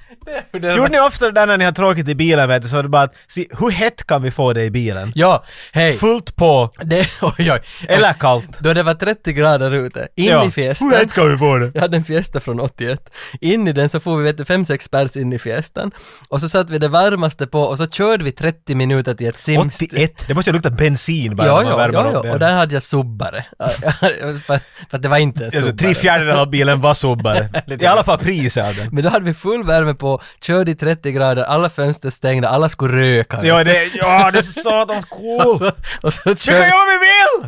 Speaker 1: Det var-
Speaker 2: gjorde ni ofta det där när ni har tråkigt i bilen vet du, så är det bara att se hur hett kan vi få det i bilen?
Speaker 1: Ja, hej!
Speaker 2: Fullt på,
Speaker 1: Det, oj, oj.
Speaker 2: eller kallt.
Speaker 1: Då det var 30 grader ute, in
Speaker 2: Ja.
Speaker 1: i festen.
Speaker 2: Hur hett kan vi få det?
Speaker 1: Jag hade en fiesta från 81. In i den så får vi vet du, fem, sex pers in i fiestan. Och så satt vi det varmaste på och så körde vi 30 minuter till ett simst.
Speaker 2: 81, det måste ju lukta bensin bara
Speaker 1: Ja,
Speaker 2: när man
Speaker 1: ja,
Speaker 2: värmer
Speaker 1: ja,
Speaker 2: upp
Speaker 1: ja. och
Speaker 2: den.
Speaker 1: där hade jag subbare. Fast- Fast det var inte en
Speaker 2: Alltså, tre
Speaker 1: subbare.
Speaker 2: fjärdedelar av bilen var sobbare. I alla fall priset av den.
Speaker 1: Men då hade vi full värme på, körde i 30 grader, alla fönster stängda, alla skulle röka.
Speaker 2: Ja, det, ja, det är så satans
Speaker 1: och
Speaker 2: coolt!
Speaker 1: så, och så
Speaker 2: Vi kan
Speaker 1: körde,
Speaker 2: göra vad vi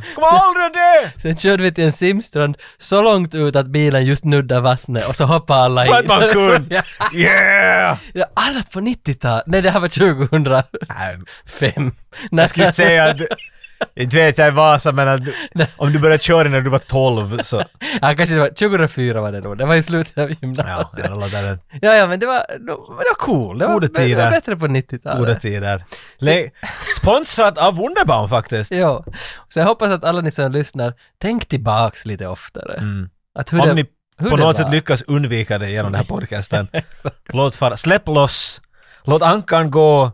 Speaker 2: vill! Kommer aldrig att dö!
Speaker 1: sen körde vi till en simstrand så långt ut att bilen just nuddar vattnet och så hoppade alla
Speaker 2: För att man
Speaker 1: Ja,
Speaker 2: kunde! Yeah!
Speaker 1: ja, alla på 90-talet. Nej, det här var 2005.
Speaker 2: Nej,
Speaker 1: När,
Speaker 2: Jag skulle säga att... Inte vet jag i Vasa men att du, om du började köra när du var 12 så...
Speaker 1: Ja, kanske det var 2004 var det då. Det var i slutet av
Speaker 2: Ja,
Speaker 1: gymnasiet.
Speaker 2: jag låter den
Speaker 1: Ja, ja, men det var, det var cool. Det var,
Speaker 2: Goda
Speaker 1: det
Speaker 2: tider.
Speaker 1: var bättre på 90-talet.
Speaker 2: goda tider. Le- sponsrat av Wunderbaum faktiskt.
Speaker 1: Ja. Så jag hoppas att alla ni som lyssnar, tänk tillbaks lite oftare. Att hur
Speaker 2: Mm. Om
Speaker 1: det,
Speaker 2: ni
Speaker 1: hur
Speaker 2: på
Speaker 1: det
Speaker 2: något
Speaker 1: var.
Speaker 2: sätt lyckas undvika det genom den här podcasten. Låt fara, släpp loss. Låt ankan gå.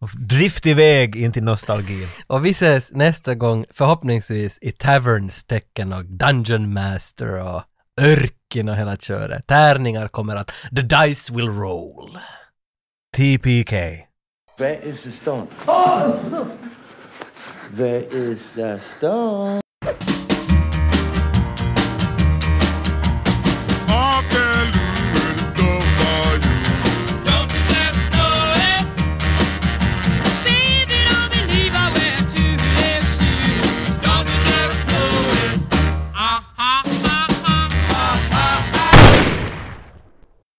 Speaker 2: och Drift iväg in till nostalgin.
Speaker 1: Och vi ses nästa gång, förhoppningsvis i Taverns tecken och Dungeon Master och Örken och hela köret. Tärningar kommer att... The dice will roll.
Speaker 2: TPK.
Speaker 4: Where is the stone? Where is the stone?